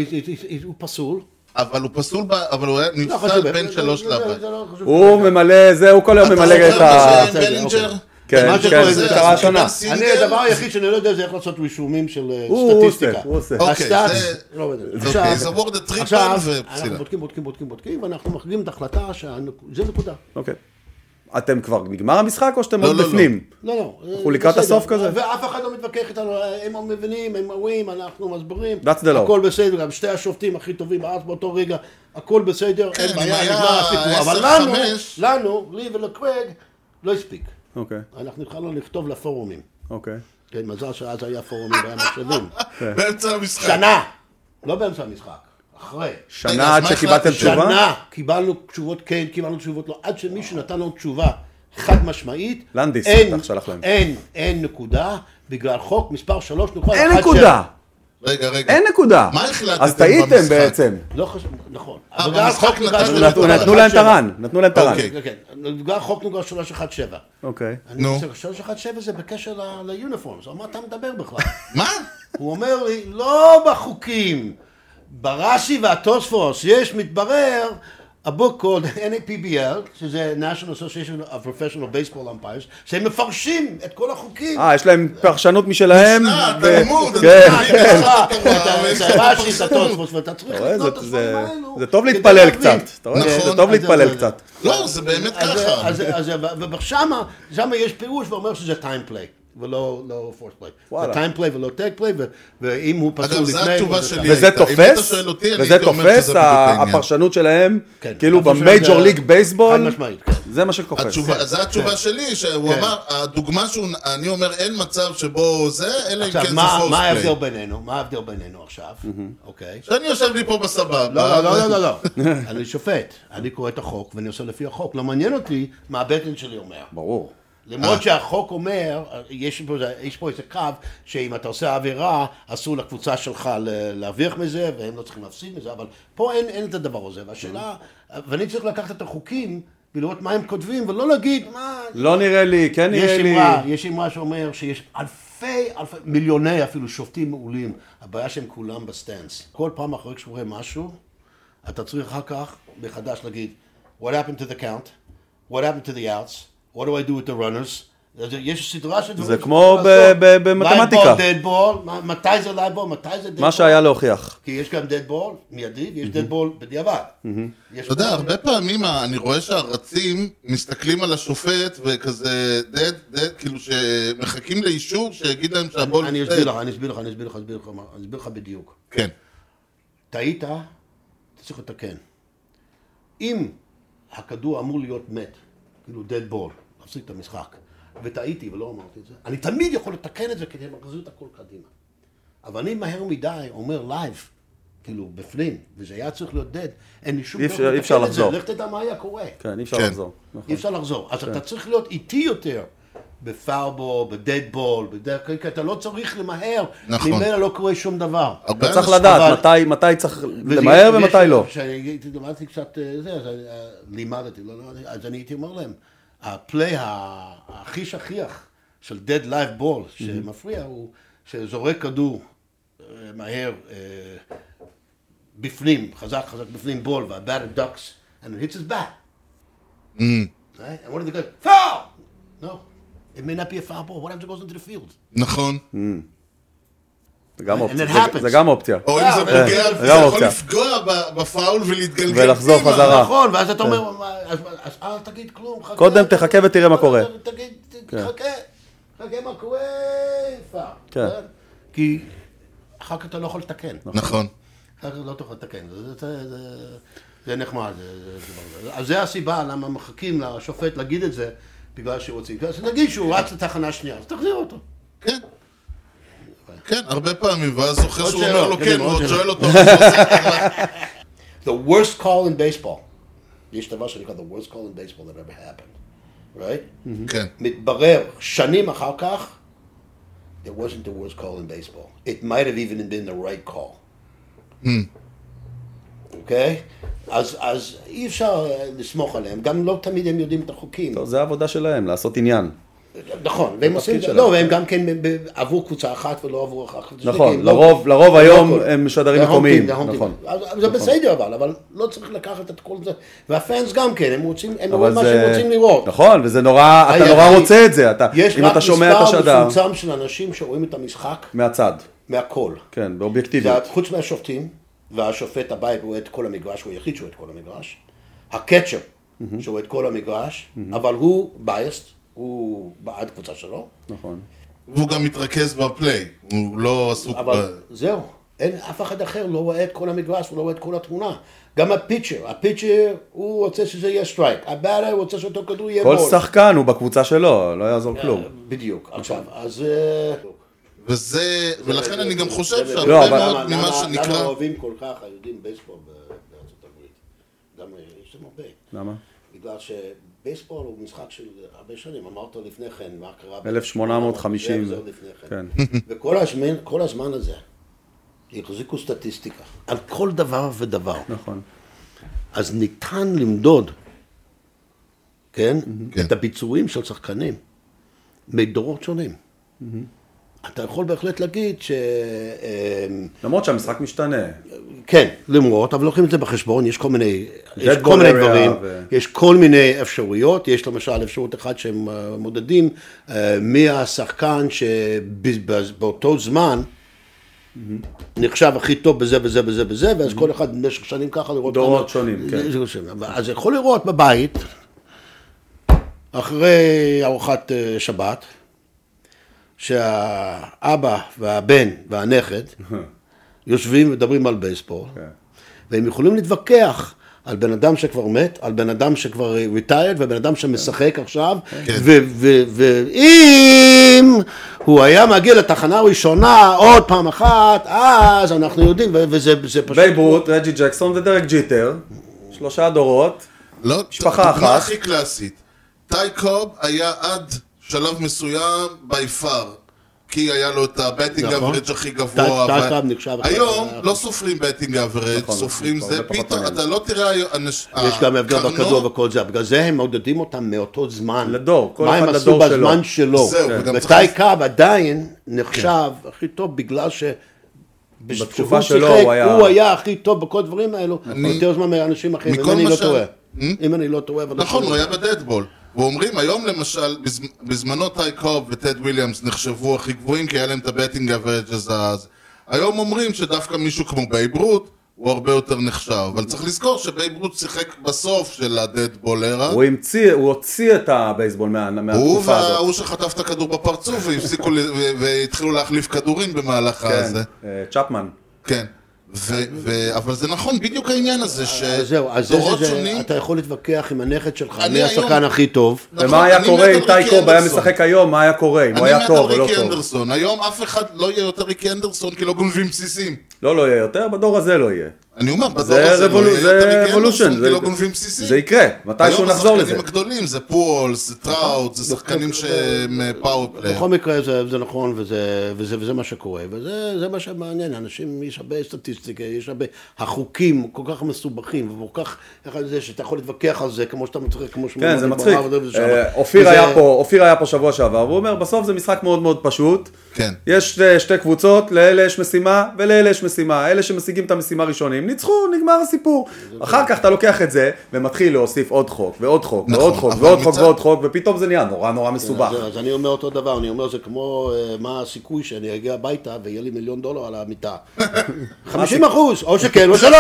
[SPEAKER 1] הוא- הוא פסול.
[SPEAKER 4] אבל הוא פסול, ב- אבל הוא היה
[SPEAKER 1] לא
[SPEAKER 4] נפסל
[SPEAKER 1] חשוב,
[SPEAKER 4] בין
[SPEAKER 1] זה-
[SPEAKER 4] שלוש
[SPEAKER 1] זה- זה-
[SPEAKER 4] לארבע.
[SPEAKER 1] זה לא חשוב.
[SPEAKER 2] הוא ממלא, זה, הוא כל היום
[SPEAKER 4] לא
[SPEAKER 2] ממלא את ה...
[SPEAKER 4] אתה זוכר בלינג'ר?
[SPEAKER 2] כן,
[SPEAKER 1] אוקיי. מה שקורה
[SPEAKER 2] כן, זה
[SPEAKER 1] זה-
[SPEAKER 2] קרה
[SPEAKER 1] זה-
[SPEAKER 2] השנה.
[SPEAKER 4] זה-
[SPEAKER 1] אני, הדבר היחיד שאני לא יודע זה איך לעשות רישומים של אה,
[SPEAKER 2] הוא- הוא
[SPEAKER 1] סטטיסטיקה.
[SPEAKER 2] עושה, הוא עושה.
[SPEAKER 4] אוקיי,
[SPEAKER 1] הסטאצ...
[SPEAKER 4] זה-
[SPEAKER 1] לא יודע.
[SPEAKER 4] אוקיי, זה וורד הטריפל
[SPEAKER 1] עכשיו, אנחנו
[SPEAKER 4] ופסילה.
[SPEAKER 1] בודקים, בודקים, בודקים, בודקים, ואנחנו מחליטים את ההחלטה שזה נקודה.
[SPEAKER 2] אוקיי. אתם כבר נגמר המשחק או שאתם
[SPEAKER 4] לא,
[SPEAKER 2] עוד
[SPEAKER 4] לא, לא.
[SPEAKER 2] בפנים?
[SPEAKER 1] לא, לא.
[SPEAKER 2] אנחנו לקראת
[SPEAKER 1] בסדר.
[SPEAKER 2] הסוף כזה?
[SPEAKER 1] ואף אחד לא מתווכח איתנו, הם מבינים, הם רואים, אנחנו מסבירים.
[SPEAKER 2] That's the law.
[SPEAKER 1] הכל בסדר, גם שתי השופטים הכי טובים בארץ באותו רגע, הכל בסדר,
[SPEAKER 4] כן,
[SPEAKER 1] אין
[SPEAKER 4] אם
[SPEAKER 1] בעיה,
[SPEAKER 4] היה
[SPEAKER 1] נגמר הסיפור. אבל
[SPEAKER 4] 10-5,
[SPEAKER 1] לנו, לנו, לי ולקרג, לא הספיק.
[SPEAKER 2] אוקיי,
[SPEAKER 1] אנחנו התחלנו לכתוב לפורומים.
[SPEAKER 2] אוקיי.
[SPEAKER 1] כן, מזל שאז היה פורומים והיה מחשבים.
[SPEAKER 4] באמצע המשחק.
[SPEAKER 1] שנה! לא באמצע המשחק, אחרי.
[SPEAKER 4] רגע,
[SPEAKER 2] שנה
[SPEAKER 4] אז
[SPEAKER 2] עד
[SPEAKER 4] מה
[SPEAKER 2] שקיבלתם
[SPEAKER 4] החלטתם?
[SPEAKER 2] תשובה?
[SPEAKER 1] שנה קיבלנו תשובות כן, קיבלנו תשובות לא, עד שמישהו נתן לנו תשובה חד משמעית.
[SPEAKER 2] לנדיס
[SPEAKER 1] אין-
[SPEAKER 2] בטח שלח להם.
[SPEAKER 1] אין, אין נקודה, בגלל חוק מספר 3 נוכל.
[SPEAKER 2] אין
[SPEAKER 1] אחד
[SPEAKER 2] נקודה!
[SPEAKER 4] רגע, רגע.
[SPEAKER 2] אין נקודה!
[SPEAKER 4] מה החלטתם
[SPEAKER 2] אז טעיתם
[SPEAKER 4] במשחק? לא,
[SPEAKER 2] בעצם.
[SPEAKER 1] ש- לא חשוב, נכון.
[SPEAKER 4] אה,
[SPEAKER 1] אבל בגלל
[SPEAKER 4] במשחק
[SPEAKER 1] חוק נקרא
[SPEAKER 4] נתנו-
[SPEAKER 1] שלוש
[SPEAKER 2] נתנו
[SPEAKER 1] נקרא
[SPEAKER 2] נתנו להם את
[SPEAKER 1] שלוש שבע.
[SPEAKER 2] הרן, נתנו להם את הרן.
[SPEAKER 4] אוקיי.
[SPEAKER 1] כן, כן, בגלל חוק נקרא 317.
[SPEAKER 2] אוקיי.
[SPEAKER 1] אני
[SPEAKER 4] נו.
[SPEAKER 1] חושב, 317 זה בקשר ל- ליוניפורמס, על מה אתה מדבר בכלל?
[SPEAKER 4] מה?
[SPEAKER 1] הוא אומר לי, לא בחוקים, ברש"י והתוספוס, יש, מתברר, a book called NAPBL, שזה National Association of Professional Baseball Umpires, שהם מפרשים את כל החוקים.
[SPEAKER 2] אה, יש להם פרשנות משלהם?
[SPEAKER 4] משנה,
[SPEAKER 2] ו-
[SPEAKER 4] תלמוד,
[SPEAKER 2] כן.
[SPEAKER 4] אני-
[SPEAKER 1] את ה- את הרש"י, את התוספוס, ואתה צריך
[SPEAKER 2] אתה רואה?
[SPEAKER 1] לקנות את
[SPEAKER 4] לא,
[SPEAKER 2] זה-
[SPEAKER 1] הדברים
[SPEAKER 2] זה-
[SPEAKER 1] האלו.
[SPEAKER 2] זה טוב
[SPEAKER 1] כדי
[SPEAKER 2] להתפלל
[SPEAKER 1] להבין.
[SPEAKER 2] קצת. אתה רואה?
[SPEAKER 4] נכון.
[SPEAKER 2] זה
[SPEAKER 1] אז-
[SPEAKER 2] טוב
[SPEAKER 1] אז-
[SPEAKER 2] להתפלל קצת.
[SPEAKER 4] לא, זה באמת
[SPEAKER 1] אז-
[SPEAKER 4] ככה.
[SPEAKER 1] אז- אז- ושמה, שמה יש פירוש ואומר שזה time play, ולא לא force play.
[SPEAKER 2] וואלה.
[SPEAKER 1] זה time play ולא tag play, ו- ואם הוא פסול לפני...
[SPEAKER 4] אגב, זו התשובה
[SPEAKER 1] זה-
[SPEAKER 4] שלי.
[SPEAKER 2] וזה
[SPEAKER 4] אם אתה
[SPEAKER 2] תופס,
[SPEAKER 4] שואל אותי, אני
[SPEAKER 2] וזה
[SPEAKER 4] הייתי אומר
[SPEAKER 2] תופס,
[SPEAKER 4] שזה
[SPEAKER 2] ה-
[SPEAKER 4] בדיוק העניין.
[SPEAKER 2] הפרשנות שלהם,
[SPEAKER 1] כן.
[SPEAKER 2] כאילו
[SPEAKER 1] הפרשנות
[SPEAKER 2] במייג'ור
[SPEAKER 1] זה-
[SPEAKER 2] ליג בייסבול,
[SPEAKER 1] חד משמעית, כן.
[SPEAKER 2] זה מה שקופץ.
[SPEAKER 4] התשובה, זו התשובה שלי, שהוא
[SPEAKER 1] כן.
[SPEAKER 4] אמר, הדוגמה שהוא, אני אומר, אין מצב שבו זה, אלא אם
[SPEAKER 1] עכשיו,
[SPEAKER 4] כן זה
[SPEAKER 1] מה- מה
[SPEAKER 4] פורספליי.
[SPEAKER 1] ההבדל בינינו? מה ההבדל בינינו עכשיו? אוקיי.
[SPEAKER 4] שאני יושב לי פה בסבבה.
[SPEAKER 1] לא, לא, לא, לא, לא. אני שופט. אני קורא את החוק ואני עושה לפי החוק. לא מעניין אותי מה הבטן שלי אומר.
[SPEAKER 2] ברור.
[SPEAKER 1] למרות שהחוק אומר, יש פה, יש פה איזה קו, שאם אתה עושה עבירה, אסור לקבוצה שלך ל- להרוויח מזה, והם לא צריכים להפסיד מזה, אבל פה אין, אין את הדבר הזה. והשאלה, ואני צריך לקחת את החוקים ולראות מה הם כותבים, ולא להגיד, מה,
[SPEAKER 2] לא נראה לי, כן נראה
[SPEAKER 1] יש
[SPEAKER 2] לי.
[SPEAKER 1] אמרה, יש אמרה שאומר שיש אלפי, אלפי, מיליוני אפילו שופטים מעולים, הבעיה שהם כולם בסטנס. כל פעם אחרי שקורה משהו, אתה צריך אחר כך מחדש להגיד, what happened to the count, what happened to the outs, what do I do with the runners. אז יש סדרה של דברים
[SPEAKER 2] זה
[SPEAKER 1] שצריך
[SPEAKER 2] כמו ב-
[SPEAKER 1] לעשות.
[SPEAKER 2] ב- במתמטיקה.
[SPEAKER 1] Live ball, dead ball, מה- מתי זה live ball, מתי זה dead ball.
[SPEAKER 2] מה שהיה להוכיח.
[SPEAKER 1] כי יש גם dead ball מיידי, ויש dead ball בדיעבד.
[SPEAKER 4] אתה יודע, הרבה פעמים ה- אני רואה שהרצים מסתכלים על השופט וכזה דד, דד, כאילו שמחכים לאישור שיגיד להם שהבול...
[SPEAKER 1] אני
[SPEAKER 4] dead.
[SPEAKER 1] אסביר לך, אני אסביר לך, אני אסביר לך, אני אסביר לך, מה- אני אסביר לך בדיוק.
[SPEAKER 4] כן.
[SPEAKER 1] טעית, אתה צריך לתקן. אם הכדור אמור להיות מת, כאילו dead ball, להפסיק את המשחק, וטעיתי ולא אמרתי את זה, אני תמיד יכול לתקן את זה כדי להחזיר את הכל קדימה. אבל אני מהר מדי אומר לייב, כאילו בפנים, וזה היה צריך להיות dead, אין לי שום
[SPEAKER 2] אי
[SPEAKER 1] דרך
[SPEAKER 2] אפשר- אי אפשר
[SPEAKER 1] לתקן את זה,
[SPEAKER 2] לחזור.
[SPEAKER 1] לך תדע מה היה קורה.
[SPEAKER 2] כן, אי אפשר
[SPEAKER 4] כן.
[SPEAKER 2] לחזור. נכון.
[SPEAKER 1] אי אפשר לחזור. אז אתה צריך להיות איטי יותר. בפארבול, בדדבול, בדרך כלל, כי אתה לא צריך למהר,
[SPEAKER 4] נכון.
[SPEAKER 1] ממילא לא קורה שום דבר.
[SPEAKER 4] הרבה
[SPEAKER 2] אתה צריך
[SPEAKER 4] אנשים-
[SPEAKER 2] לדעת
[SPEAKER 1] אבל-
[SPEAKER 2] מתי- מתי צריך
[SPEAKER 1] וזה-
[SPEAKER 2] למהר
[SPEAKER 1] ויש-
[SPEAKER 2] ומתי לא.
[SPEAKER 1] כשאני למדתי קצת אה, זה, אז אני, אה, לימדתי, לא למדתי, אז אני הייתי אומר להם, הפליי ה- הכי שכיח של dead live
[SPEAKER 2] Mhm.
[SPEAKER 1] ball שמפריע הוא שזורק כדור אה, מהר אה, בפנים, חזק חזק בפנים בול, והבאטר דוקס, and it hits his back.
[SPEAKER 2] Mm.
[SPEAKER 1] Right? And what did they go? Foul! No. It may not be a foul ball. What happens if it goes into the field?
[SPEAKER 4] נכון.
[SPEAKER 1] אה,
[SPEAKER 2] זה גם
[SPEAKER 1] And
[SPEAKER 2] אופציה.
[SPEAKER 1] it
[SPEAKER 2] זה-
[SPEAKER 1] happens.
[SPEAKER 2] זה גם אופציה.
[SPEAKER 4] או אם זה
[SPEAKER 1] אה,
[SPEAKER 4] פוגע,
[SPEAKER 2] זה
[SPEAKER 4] זה
[SPEAKER 2] גם
[SPEAKER 4] יכול
[SPEAKER 2] אופציה.
[SPEAKER 4] לפגוע ב- בפאול ולהתגלגל.
[SPEAKER 2] ולחזור
[SPEAKER 4] פנימה.
[SPEAKER 2] חזרה.
[SPEAKER 1] נכון, ואז אתה אומר, "מה, אז- אז אל תגיד כלום, חכה.
[SPEAKER 2] כן. קודם תחכה ותראה מה קורה.
[SPEAKER 1] תגיד, חכה, חכה מה קורה, פאר.
[SPEAKER 2] כן.
[SPEAKER 1] כי אחר כך אתה לא יכול לתקן.
[SPEAKER 4] נכון.
[SPEAKER 1] אחר כך לא תוכל לתקן. זה- זה- זה- זה נחמד. זה- זה- זה דבר. אז זה הסיבה למה מחכים לשופט להגיד את זה, בגלל שרוצים. אז נגיד שהוא רץ לתחנה שנייה, אז תחזיר אותו.
[SPEAKER 4] כן. כן, הרבה פעמים, ואז זוכר
[SPEAKER 1] עוד
[SPEAKER 4] שהוא אומר
[SPEAKER 1] שאלות,
[SPEAKER 4] לו
[SPEAKER 1] כן,
[SPEAKER 4] כן,
[SPEAKER 1] עוד
[SPEAKER 4] ועוד
[SPEAKER 1] שאלות.
[SPEAKER 4] שואל אותו. "מה אתה עושה?"
[SPEAKER 1] the worst call in baseball. יש דבר שנקרא the worst call in baseball that ever happened, right?
[SPEAKER 4] כן.
[SPEAKER 1] מתברר שנים אחר כך, it wasn't the worst call in baseball. It might have even been the right call.
[SPEAKER 2] Hmm.
[SPEAKER 1] אוקיי? אז, אז אי אפשר אה, לסמוך עליהם, גם לא תמיד הם יודעים את החוקים.
[SPEAKER 2] טוב, לא, זה העבודה שלהם, לעשות עניין.
[SPEAKER 1] נכון, והם עושים את זה,
[SPEAKER 2] שלהם.
[SPEAKER 1] לא, והם גם כן ב- ב- עבור קבוצה אחת ולא עבור אחת.
[SPEAKER 2] נכון,
[SPEAKER 1] לא-
[SPEAKER 2] לרוב- לרוב
[SPEAKER 1] לא
[SPEAKER 2] היום
[SPEAKER 1] הכל.
[SPEAKER 2] הם משדרים
[SPEAKER 1] זה הום
[SPEAKER 2] מקומיים,
[SPEAKER 1] טים, זה הום טים.
[SPEAKER 2] נכון.
[SPEAKER 1] אז- אז זה בסדר אבל, אבל לא צריך לקחת את כל זה, והפאנס גם כן, הם רוצים, הם רואים מה
[SPEAKER 2] זה-
[SPEAKER 1] שהם רוצים לראות.
[SPEAKER 2] נכון, וזה נורא, אתה
[SPEAKER 1] היחיד-
[SPEAKER 2] נורא רוצה את זה, אתה,
[SPEAKER 1] יש
[SPEAKER 2] אם
[SPEAKER 1] רק
[SPEAKER 2] אתה שומע את
[SPEAKER 1] מספר
[SPEAKER 2] השדר,
[SPEAKER 1] מצומצם של אנשים שרואים את המשחק
[SPEAKER 2] מהצד,
[SPEAKER 1] מהכל.
[SPEAKER 2] כן,
[SPEAKER 1] זה
[SPEAKER 2] באובייקטיביות.
[SPEAKER 1] חוץ מהשופטים, והשופט הבית רואה את כל המגרש, הוא היחיד שרואה את כל המגרש. הקצ'ר, שרואה את כל המגרש, אבל הוא biased, הוא בעד קבוצה שלו.
[SPEAKER 2] נכון.
[SPEAKER 1] כן,
[SPEAKER 4] והוא גם מתרכז בפליי. הוא לא עסוק ב...
[SPEAKER 2] אה.
[SPEAKER 1] אבל זהו, אין אף אחד אחר לא רואה את כל המגרש, הוא לא רואה את כל התמונה. גם הפיצ'ר, הפיצ'ר הוא רוצה שזה יהיה סטרייק, הבעלה הוא רוצה שאותו כדור יהיה
[SPEAKER 2] כל
[SPEAKER 1] בול.
[SPEAKER 2] שחקן הוא בקבוצה שלו, לא
[SPEAKER 1] כן.
[SPEAKER 2] יעזור כלום. אוקיי.
[SPEAKER 1] בדיוק, עכשיו, אז... אה,
[SPEAKER 4] וזה, ולכן אני גם חושב
[SPEAKER 2] לא,
[SPEAKER 4] שהרבה
[SPEAKER 2] אבל-
[SPEAKER 1] למה-
[SPEAKER 4] מאוד ממה
[SPEAKER 1] למה- למה
[SPEAKER 4] שנקרא...
[SPEAKER 1] אוהבים כל כך היהודים בייסבול ב- בארצות הברית? גם אה, יש שם הרבה.
[SPEAKER 2] למה?
[SPEAKER 1] בגלל שבייסבול הוא משחק של הרבה שנים, אמרת לפני כן, מה קרה ב-
[SPEAKER 2] 1850.
[SPEAKER 1] זה עוד לפני כן.
[SPEAKER 2] כן.
[SPEAKER 1] וכל הזמן, כל הזמן הזה, החזיקו סטטיסטיקה על כל דבר ודבר.
[SPEAKER 2] נכון.
[SPEAKER 1] אז ניתן למדוד, כן,
[SPEAKER 4] כן.
[SPEAKER 1] את הביצועים של שחקנים מדורות שונים. אתה יכול בהחלט להגיד ש... אמ,
[SPEAKER 2] למרות שהמשחק משתנה.
[SPEAKER 1] כן, למרות, אבל לוקחים את זה בחשבון, יש כל מיני, יש
[SPEAKER 2] Dead ball
[SPEAKER 1] כל מיני
[SPEAKER 2] area
[SPEAKER 1] דברים,
[SPEAKER 2] ו-
[SPEAKER 1] יש כל מיני אפשרויות, יש למשל אפשרות אחת שהם אה, מודדים, אה, מי השחקן שבאותו זמן
[SPEAKER 2] Mm-hmm.
[SPEAKER 1] נחשב הכי טוב בזה וזה וזה וזה, ואז כל אחד במשך שנים ככה לראות...
[SPEAKER 2] דורות
[SPEAKER 1] כמה-
[SPEAKER 2] שונים, כן.
[SPEAKER 1] זה- זה- אבל- אז יכול לראות בבית, אחרי ארוחת אה, שבת, שהאבא והבן והנכד
[SPEAKER 2] Mm-hmm.
[SPEAKER 1] יושבים ומדברים על בייסבול,
[SPEAKER 2] כן.
[SPEAKER 1] והם יכולים להתווכח על בן אדם שכבר מת, על בן אדם שכבר ריטיירד, ובן אדם שמשחק עכשיו, ואם הוא היה מגיע לתחנה הראשונה עוד פעם אחת, אז אנחנו יודעים, ו- וזה זה פשוט...
[SPEAKER 2] בייב רות, רג'י ג'קסון ודרק ג'יטר, שלושה דורות.
[SPEAKER 4] לא,
[SPEAKER 1] אה?
[SPEAKER 2] משפחה
[SPEAKER 4] הדוגמה
[SPEAKER 2] אחת.
[SPEAKER 4] הכי קלאסית. טי קוב היה עד שלב מסוים, by far. כי היה לו את הבטינג
[SPEAKER 1] נכון.
[SPEAKER 4] אברג' הכי גבוה.
[SPEAKER 1] טל-
[SPEAKER 4] אבל-
[SPEAKER 1] טל טל נחשב אחד-
[SPEAKER 4] היום
[SPEAKER 1] אחד.
[SPEAKER 4] לא סופרים בטינג אברג',
[SPEAKER 2] נכון,
[SPEAKER 4] סופרים
[SPEAKER 2] נכון,
[SPEAKER 4] זה.
[SPEAKER 2] זה פחות
[SPEAKER 4] פתאום
[SPEAKER 2] מעניין.
[SPEAKER 4] אתה לא תראה... היום- אנש-
[SPEAKER 1] יש גם הבדל
[SPEAKER 4] הקרנות-
[SPEAKER 1] בכדור וכל זה, בגלל זה הם מעודדים אותם מאותו זמן.
[SPEAKER 2] לדור, כל
[SPEAKER 1] מה
[SPEAKER 2] אחד
[SPEAKER 1] הם עשו
[SPEAKER 2] לדור שלו.
[SPEAKER 1] בזמן שלו.
[SPEAKER 4] זהו, וגם צריך- כן.
[SPEAKER 1] וטייקאב עדיין נחשב הכי טוב בגלל ש... בש-
[SPEAKER 2] בתקופה
[SPEAKER 1] כשהוא
[SPEAKER 2] שלו
[SPEAKER 1] שיחק,
[SPEAKER 2] הוא היה-
[SPEAKER 1] הוא היה הכי טוב בכל הדברים האלו,
[SPEAKER 4] אני-
[SPEAKER 1] יותר זמן מאנשים אחרים, אם
[SPEAKER 4] מכל
[SPEAKER 1] אני
[SPEAKER 4] מה
[SPEAKER 1] לא
[SPEAKER 4] ש-
[SPEAKER 1] טועה.
[SPEAKER 4] Hmm?
[SPEAKER 1] אם אני לא טועה, אבל... לא
[SPEAKER 4] נכון,
[SPEAKER 1] טועה.
[SPEAKER 4] הוא היה בדדבול. ואומרים היום למשל, בז- בזמנו טי קוב וטד וויליאמס נחשבו הכי גבוהים כי היה להם את הבטינג אברג'ז אז. היום אומרים שדווקא מישהו כמו בייב רות הוא הרבה יותר נחשב. אבל צריך לזכור שבייב רות שיחק בסוף של הדדבול ארה.
[SPEAKER 2] הוא המציא, הוא הוציא את הבייסבול מה-
[SPEAKER 4] הוא
[SPEAKER 2] מהתקופה הזאת.
[SPEAKER 4] וההוא שחטף את הכדור בפרצוף והפסיקו ל- ו- והתחילו להחליף כדורים במהלך
[SPEAKER 2] כן,
[SPEAKER 4] הזה.
[SPEAKER 2] אה, צ'פמן.
[SPEAKER 4] כן. ו- ו- אבל זה נכון, בדיוק העניין הזה,
[SPEAKER 1] אז זהו, אז זה
[SPEAKER 4] שדורות
[SPEAKER 1] שזה-
[SPEAKER 4] שונים...
[SPEAKER 1] אתה יכול להתווכח עם הנכד שלך,
[SPEAKER 4] אני
[SPEAKER 1] מי השחקן
[SPEAKER 4] היום-
[SPEAKER 1] הכי טוב.
[SPEAKER 4] נכון,
[SPEAKER 2] ומה היה
[SPEAKER 4] אני
[SPEAKER 2] קורה
[SPEAKER 4] מת
[SPEAKER 2] אם
[SPEAKER 4] על ריקי
[SPEAKER 2] טייקוב היה
[SPEAKER 4] אנדרסון.
[SPEAKER 2] משחק היום, מה היה קורה, אם הוא
[SPEAKER 4] אני
[SPEAKER 2] היה
[SPEAKER 4] מת על
[SPEAKER 2] טוב או לא
[SPEAKER 4] ריקי
[SPEAKER 2] טוב.
[SPEAKER 4] אנדרסון, היום אף אחד לא יהיה יותר ריקי אנדרסון כי לא גונבים בסיסים.
[SPEAKER 2] לא, לא יהיה יותר, בדור הזה לא יהיה.
[SPEAKER 4] אני אומר, בדור
[SPEAKER 2] זה
[SPEAKER 4] הזה לא
[SPEAKER 2] רבולו-
[SPEAKER 4] יהיה
[SPEAKER 2] זה
[SPEAKER 4] יותר ריקי
[SPEAKER 2] רבולושן,
[SPEAKER 4] אנדרסון
[SPEAKER 2] זה-
[SPEAKER 4] כי לא גונבים בסיסים.
[SPEAKER 2] זה יקרה, מתישהו
[SPEAKER 4] היום
[SPEAKER 2] נחזור לזה.
[SPEAKER 4] השחקנים הגדולים זה פולס, זה טראוט, זה
[SPEAKER 1] נכון.
[SPEAKER 4] שחקנים שהם אה, פאורפלייר.
[SPEAKER 1] בכל מקרה זה, זה נכון וזה, וזה, וזה מה שקורה, וזה זה מה שמעניין, אנשים, יש הרבה סטטיסטיקה, יש הרבה, החוקים כל כך מסובכים, וכל כך, איך זה שאתה יכול להתווכח על זה, כמו שאתה מצחיק, כמו שאתה
[SPEAKER 2] כן, זה מצחיק. אה, אופיר היה פה- אופיר היה פה שבוע שעבר, והוא אומר, בסוף זה משחק מאוד מאוד פשוט.
[SPEAKER 4] כן.
[SPEAKER 2] יש שתי- שתי קבוצות, לאלה יש משימה ולאלה יש משימה. אלה שמשיגים את המשימה ראשונים, ניצחו, נגמר הסיפור. אחר כך אתה לוקח את זה, ומתחיל להוסיף עוד חוק, ועוד חוק,
[SPEAKER 4] נכון,
[SPEAKER 2] ועוד חוק,
[SPEAKER 4] אבל
[SPEAKER 2] ועוד חוק,
[SPEAKER 4] מצד- כן,
[SPEAKER 2] ועוד חוק, ופתאום זה נהיה נורא נורא מסובך.
[SPEAKER 1] אז, אז אני אומר אותו דבר, אני אומר זה כמו אה, מה הסיכוי שאני אגיע הביתה ויהיה לי מיליון דולר על המיטה. 50 אחוז, או שכן או שלא,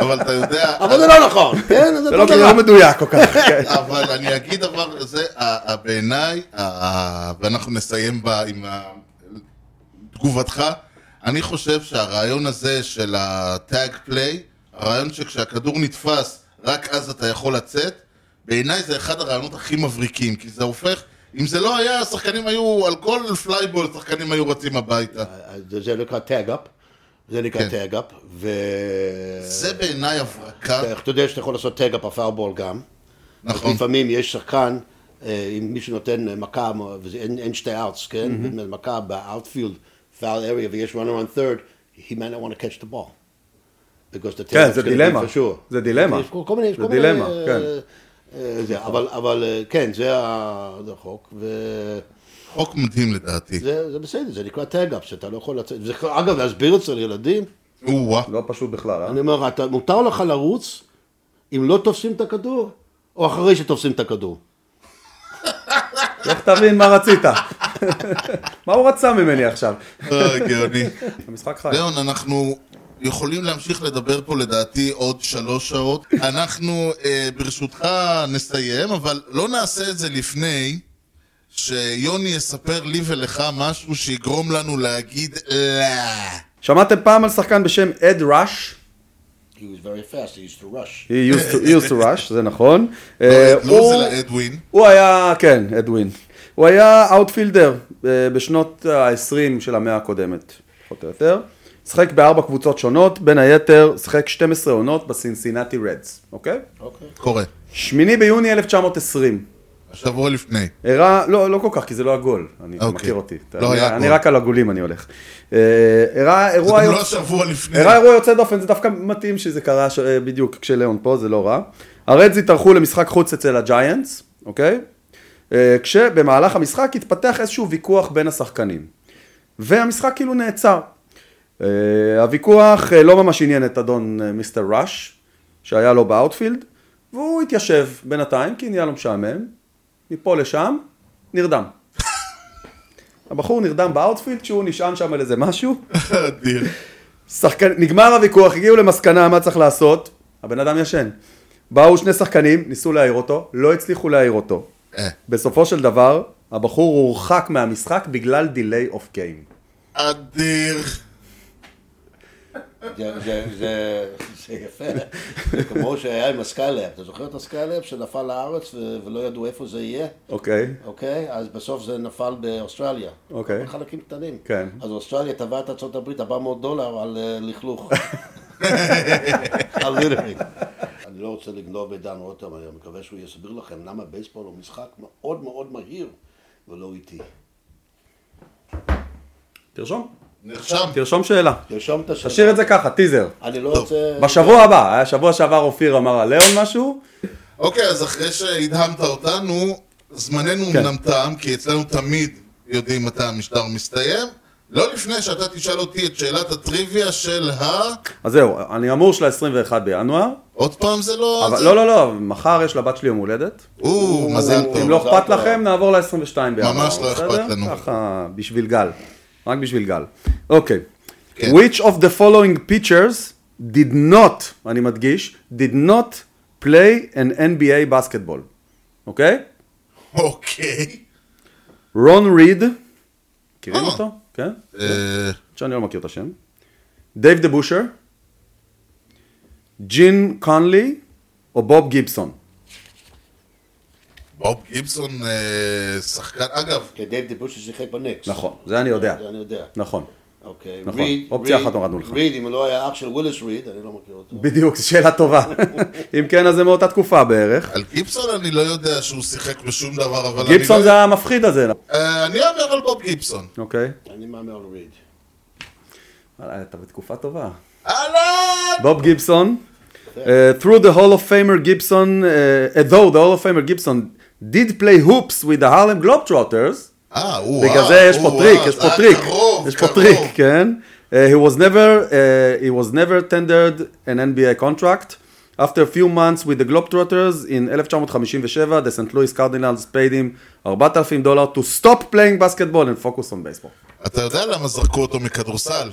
[SPEAKER 4] אבל אתה יודע...
[SPEAKER 1] אבל זה לא נכון, כן? זה
[SPEAKER 2] זה לא
[SPEAKER 1] אותו
[SPEAKER 2] זה
[SPEAKER 1] דבר.
[SPEAKER 2] לא מדויק כל כך. כן.
[SPEAKER 4] אבל אני אגיד דבר, זה ה- ה- בעיניי, ה- ה- ואנחנו נסיים בה עם ה- תגובתך, אני חושב שהרעיון הזה של הטאג פליי, הרעיון שכשהכדור נתפס, רק אז אתה יכול לצאת, בעיניי זה אחד הרעיונות הכי מבריקים, כי זה הופך, אם זה לא היה, השחקנים היו, על כל פלייבול השחקנים היו רצים הביתה.
[SPEAKER 1] אז זה- זה נקרא טאג אפ, זה נקרא
[SPEAKER 4] כן.
[SPEAKER 1] טאג אפ, ו...
[SPEAKER 4] זה בעיניי הברקה,
[SPEAKER 1] אתה אתה יודע שאתה יכול לעשות טאג אפ הפארבול גם.
[SPEAKER 4] נכון.
[SPEAKER 1] לפעמים יש שחקן, אה, אם מישהו נותן אה, מכה, וזה- אין אין שתי אאוטס, כן? מכה באאוטפילד, פאול אריה, ויש runner on third, he might not want to catch the ball. Because the
[SPEAKER 2] כן,
[SPEAKER 1] tailback's
[SPEAKER 2] זה
[SPEAKER 1] gonna be
[SPEAKER 2] דילמה.
[SPEAKER 1] for sure.
[SPEAKER 2] זה דילמה.
[SPEAKER 1] יש כל כל מיני,
[SPEAKER 2] זה
[SPEAKER 1] כל מיני,
[SPEAKER 2] דילמה,
[SPEAKER 1] אה,
[SPEAKER 2] כן.
[SPEAKER 1] אה, זה, אבל, אבל אה, כן, זה ה- זה החוק, וזה
[SPEAKER 4] חוק מדהים לדעתי.
[SPEAKER 1] זה בסדר, זה נקרא טאג-אפ, שאתה לא יכול לצאת, זה- אגב, להסביר את זה לילדים,
[SPEAKER 4] או-אה.
[SPEAKER 2] לא פשוט בכלל, אה?
[SPEAKER 1] אני אומר לך, אתה- מותר לך לרוץ אם לא תופסים את הכדור, או אחרי שתופסים את הכדור.
[SPEAKER 2] לך תבין מה רצית. מה הוא רצה ממני עכשיו?
[SPEAKER 4] אה, גאוני.
[SPEAKER 2] המשחק חי.
[SPEAKER 4] ליאון, אנחנו יכולים להמשיך לדבר פה לדעתי עוד שלוש שעות. אנחנו אה, ברשותך נסיים, אבל לא נעשה את זה לפני שיוני יספר לי ולך משהו שיגרום לנו להגיד לא.
[SPEAKER 2] שמעתם פעם על שחקן בשם אד ראש?
[SPEAKER 1] He was very fast, he used to rush.
[SPEAKER 2] He used to- he used to rush, זה נכון. אה,
[SPEAKER 4] לא,
[SPEAKER 2] הוא-
[SPEAKER 4] זה לאדווין.
[SPEAKER 2] הוא היה, כן, אדווין. הוא היה אאוטפילדר אה, בשנות ה-20 של המאה הקודמת, פחות או יותר. שיחק בארבע קבוצות שונות, בין היתר שיחק 12 עונות בסינסינטי רדס, אוקיי?
[SPEAKER 4] קורה.
[SPEAKER 2] 8 ביוני 1920.
[SPEAKER 4] שבוע לפני.
[SPEAKER 2] הראה, לא, לא כל כך, כי זה לא הגול, אני
[SPEAKER 4] אוקיי.
[SPEAKER 2] מכיר אותי.
[SPEAKER 4] לא
[SPEAKER 2] אני-
[SPEAKER 4] היה
[SPEAKER 2] אני
[SPEAKER 4] גול.
[SPEAKER 2] רק על הגולים אני הולך. אה, הראה
[SPEAKER 4] זה
[SPEAKER 2] אירוע...
[SPEAKER 4] גם לא
[SPEAKER 2] יוצא-
[SPEAKER 4] השבוע לפני.
[SPEAKER 2] אירע אירוע יוצא דופן, זה דווקא מתאים שזה קרה ש... אה, בדיוק כשליאון פה, זה לא רע. הרדס התארחו למשחק חוץ אצל הג'יינטס, אוקיי? אה, כשבמהלך המשחק התפתח איזשהו ויכוח בין השחקנים. והמשחק כאילו נעצר. אה, הוויכוח אה, לא ממש עניין את אדון אה, מיסטר ראש, שהיה לו באאוטפילד, והוא התיישב בינתיים, כי נהיה לו משעמם, מפה לשם, נרדם. הבחור נרדם באאוטפילד, שהוא נשען שם על איזה משהו,
[SPEAKER 4] אדיר.
[SPEAKER 2] שחקן, נגמר הוויכוח, הגיעו למסקנה מה צריך לעשות, הבן אדם ישן. באו שני שחקנים, ניסו להעיר אותו, לא הצליחו להעיר אותו.
[SPEAKER 4] אה.
[SPEAKER 2] בסופו של דבר, הבחור הורחק מהמשחק בגלל דיליי אוף גיים.
[SPEAKER 4] אדיר.
[SPEAKER 1] זה, זה, זה, זה יפה, זה כמו שהיה עם הסקיילאפ, אתה זוכר את הסקיילאפ שנפל לארץ ו- ולא ידעו איפה זה יהיה,
[SPEAKER 2] אוקיי.
[SPEAKER 1] אוקיי? אז בסוף זה נפל באוסטרליה.
[SPEAKER 2] אוקיי.
[SPEAKER 1] חלקים קטנים.
[SPEAKER 2] כן.
[SPEAKER 1] אז אוסטרליה תבעה את ארה"ב 400 דולר על אה, לכלוך. על ליטרינג. אני לא רוצה רוצה לגנוב את דן רותם, אני מקווה שהוא יסביר לכם למה בייסבול הוא משחק מאוד מאוד מהיר ולא איטי.
[SPEAKER 2] תרשום.
[SPEAKER 4] נרשם.
[SPEAKER 2] תרשום שאלה.
[SPEAKER 1] תרשום את השאלה.
[SPEAKER 2] תשאיר את זה ככה, טיזר.
[SPEAKER 1] אני לא רוצה...
[SPEAKER 2] בשבוע הבא, היה שבוע שעבר אופיר אמר על ליאון משהו,
[SPEAKER 4] אוקיי, אז אחרי שהדהמת אותנו, זמננו
[SPEAKER 2] כן.
[SPEAKER 4] אמנם תם, כי אצלנו תמיד יודעים מתי המשטר מסתיים. לא לפני שאתה תשאל אותי את שאלת הטריוויה של ה...
[SPEAKER 2] אז זהו, אני אמור של ה-21 בינואר,
[SPEAKER 4] עוד פעם זה לא...
[SPEAKER 2] אבל
[SPEAKER 4] זה-
[SPEAKER 2] לא, לא, לא, מחר יש לבת שלי יום הולדת.
[SPEAKER 4] או, מזל
[SPEAKER 1] אם
[SPEAKER 4] טוב.
[SPEAKER 2] אם לא
[SPEAKER 1] זה
[SPEAKER 2] אכפת
[SPEAKER 1] אחלה.
[SPEAKER 2] לכם, נעבור ל-22 בינואר.
[SPEAKER 4] ממש
[SPEAKER 2] בסדר?
[SPEAKER 4] לא אכפת לנו.
[SPEAKER 2] ככה, בשביל גל. רק בשביל גל. אוקיי.
[SPEAKER 4] כן.
[SPEAKER 2] Which of the following pitchers did not, אני מדגיש, did not play an NBA basketball, אוקיי?
[SPEAKER 4] אוקיי.
[SPEAKER 2] רון ריד, מכירים
[SPEAKER 4] אה.
[SPEAKER 2] אותו? כן?
[SPEAKER 4] אה,
[SPEAKER 2] שאני לא מכיר את השם. דייב דה בושר, ג'ין קונלי או בוב גיבסון.
[SPEAKER 4] בוב גיבסון אה, שחקן, אגב,
[SPEAKER 1] כי דייב דיבוש ששיחק בנקס.
[SPEAKER 2] נכון, זה אני יודע.
[SPEAKER 1] זה אני יודע.
[SPEAKER 2] נכון.
[SPEAKER 1] אוקיי.
[SPEAKER 2] נכון.
[SPEAKER 1] ריד-
[SPEAKER 2] אופציה
[SPEAKER 1] ריד-
[SPEAKER 2] אחת הורדנו לך.
[SPEAKER 1] ריד, אם הוא לא היה אח של וויליס ריד, אני לא מכיר אותו.
[SPEAKER 2] בדיוק, זו שאלה טובה. אם כן, אז זה מאותה תקופה בערך.
[SPEAKER 4] על גיבסון אני לא יודע שהוא שיחק בשום דבר, אבל אני
[SPEAKER 2] גיבסון
[SPEAKER 4] לא-
[SPEAKER 2] זה המפחיד הזה.
[SPEAKER 4] אה, אני אומר על בוב גיבסון.
[SPEAKER 2] אוקיי.
[SPEAKER 1] אני מהמר על ריד.
[SPEAKER 2] וואלה, אתה בתקופה טובה.
[SPEAKER 4] אהלן!
[SPEAKER 2] בוב גיבסון.
[SPEAKER 4] כן.
[SPEAKER 2] Uh, through the Hall of Famer Gibson, uh, though the Hall of Famer Gibson did play hoops with the Harlem Globetrotters,
[SPEAKER 4] אה, הוא...
[SPEAKER 2] בגלל
[SPEAKER 4] אה,
[SPEAKER 2] זה יש פה
[SPEAKER 4] הוא,
[SPEAKER 2] טריק,
[SPEAKER 4] אה,
[SPEAKER 2] יש פה
[SPEAKER 4] אה,
[SPEAKER 2] טריק,
[SPEAKER 4] קרוב,
[SPEAKER 2] יש פה
[SPEAKER 4] קרוב.
[SPEAKER 2] טריק, כן. Uh, he was never, uh, he was never tendered an NBA contract. After a few months with the Globetrotters in 1957, the St. Louis Cardinals paid him 4,000 דולר to stop playing basketball and focus on baseball.
[SPEAKER 4] אתה יודע למה זרקו אותו מכדורסל?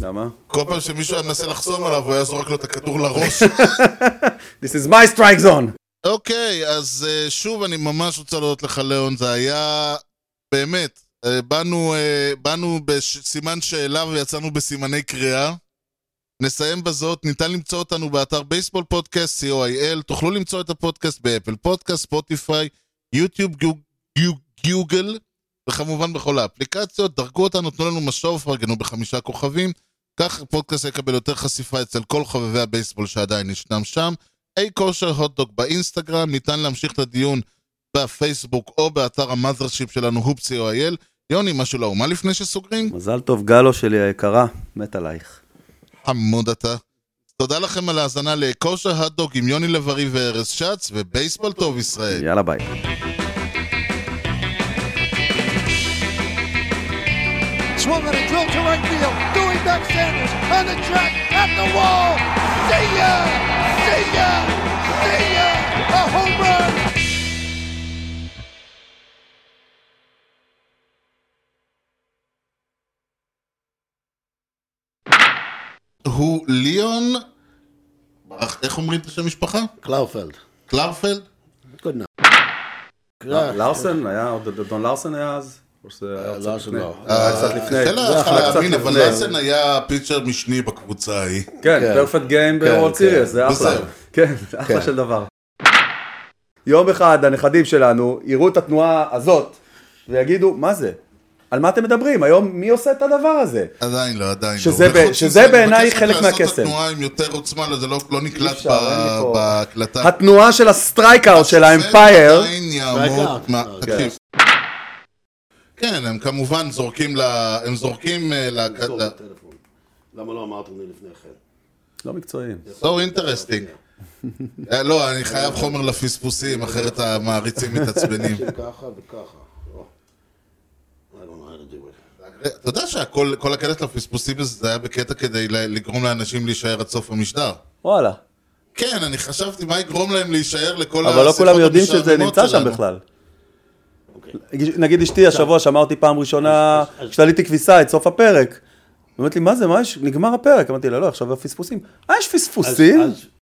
[SPEAKER 2] למה?
[SPEAKER 4] כל פעם שמישהו היה מנסה לחסום עליו, הוא היה זורק לו את הכדור לראש.
[SPEAKER 2] This is my strike zone.
[SPEAKER 4] אוקיי, אז אה, שוב, אני ממש רוצה להודות לך, ליאון. זה היה... באמת, אה, באנו, אה, באנו בסימן שאלה ויצאנו בסימני קריאה. נסיים בזאת, ניתן למצוא אותנו באתר בייסבול פודקאסט, co.il, תוכלו למצוא את הפודקאסט באפל פודקאסט, ספוטיפיי, יוטיוב, גוג- גוג- גוגל, וכמובן בכל האפליקציות. דרגו אותנו, תנו לנו משוב, פרגנו בחמישה כוכבים. כך הפודקאסט יקבל יותר חשיפה אצל כל חובבי הבייסבול שעדיין ישנם שם. אי כושר הוטדוק באינסטגרם, ניתן להמשיך את הדיון בפייסבוק או באתר המאזרשיפ שלנו, הופסי או אייל. יוני, משהו לאומה לפני שסוגרים?
[SPEAKER 2] מזל טוב, גלו שלי היקרה, מת עלייך.
[SPEAKER 4] חמוד אתה. תודה לכם על ההאזנה לכושר הוטדוק עם יוני לב-ארי וארז שץ, ובייסבול טוב ישראל.
[SPEAKER 2] יאללה ביי.
[SPEAKER 6] Swung on a drill to right field. Doing back Sanders on the track at the wall. See ya! See ya! See ya! A home run!
[SPEAKER 4] הוא ליאון... אך, איך אומרים את השם משפחה?
[SPEAKER 1] קלאופלד.
[SPEAKER 4] קלרפלד?
[SPEAKER 1] Good enough.
[SPEAKER 2] לארסן היה, עוד דון לארסן היה אז? או שזה היה קצת
[SPEAKER 1] לארסן
[SPEAKER 2] לפני?
[SPEAKER 1] לא.
[SPEAKER 2] זה היה אה, קצת לפני.
[SPEAKER 4] אה, תן
[SPEAKER 2] זה
[SPEAKER 4] לך
[SPEAKER 2] היה קצת
[SPEAKER 4] להאמין, אבל
[SPEAKER 2] לפני.
[SPEAKER 4] לאסן היה פיצ'ר משני בקבוצה ההיא.
[SPEAKER 2] כן,
[SPEAKER 1] כן.
[SPEAKER 2] פרפקט גיים בוולד
[SPEAKER 1] כן.
[SPEAKER 2] סיריוס, זה אחלה.
[SPEAKER 4] בסדר.
[SPEAKER 2] כן, זה אחלה
[SPEAKER 1] כן.
[SPEAKER 2] של דבר. יום אחד הנכדים שלנו יראו את התנועה הזאת ויגידו, מה זה? על מה אתם מדברים? היום מי עושה את הדבר הזה?
[SPEAKER 4] עדיין לא, עדיין לא.
[SPEAKER 2] שזה ב-
[SPEAKER 4] וחוץ
[SPEAKER 2] שזה
[SPEAKER 4] מזה, אני
[SPEAKER 2] בעיניי
[SPEAKER 4] מבקש רק
[SPEAKER 2] חלק
[SPEAKER 4] לעשות את
[SPEAKER 2] מהקסם.
[SPEAKER 4] התנועה עם יותר עוצמה, זה לא לא נקלט
[SPEAKER 2] אפשר,
[SPEAKER 4] ב-
[SPEAKER 2] אין לי פה.
[SPEAKER 1] אה.
[SPEAKER 4] בהקלטה.
[SPEAKER 2] התנועה של הסטרייקאוט של האמפייר,
[SPEAKER 4] עדיין יעמוד,
[SPEAKER 1] Strikeout.
[SPEAKER 4] מה-
[SPEAKER 1] כן.
[SPEAKER 4] תקשיב. כן, הם כמובן זורקים ל... הם זורקים אה, ל...
[SPEAKER 1] תזכור את הטלפון. למה לא אמרתם לי לפני כן?
[SPEAKER 2] לא מקצועיים.
[SPEAKER 4] So interesting. אה, לא, אני חייב חומר לפספוסים, אחרת המעריצים מתעצבנים.
[SPEAKER 1] עושים ככה וככה. Oh. I don't know how to do it.
[SPEAKER 4] אתה יודע שהכל כל הקטע לפספוסים הזה זה היה בקטע כדי ל- לגרום לאנשים להישאר עד סוף המשדר.
[SPEAKER 2] וואלה.
[SPEAKER 4] כן, אני חשבתי מה יגרום להם להישאר לכל
[SPEAKER 2] אבל לא כולם יודעים שזה
[SPEAKER 4] המשעממות
[SPEAKER 2] נמצא שם
[SPEAKER 4] שלנו.
[SPEAKER 2] בכלל.
[SPEAKER 1] אוקיי.
[SPEAKER 2] נגיד אשתי השבוע שמרתי פעם ראשונה, כשתליתי כביסה את סוף הפרק. היא אומרת לי, מה זה, מה יש? נגמר הפרק. אמרתי לה, לא, עכשיו הפספוסים. אה, יש
[SPEAKER 1] אז-
[SPEAKER 2] פספוסים?
[SPEAKER 1] אז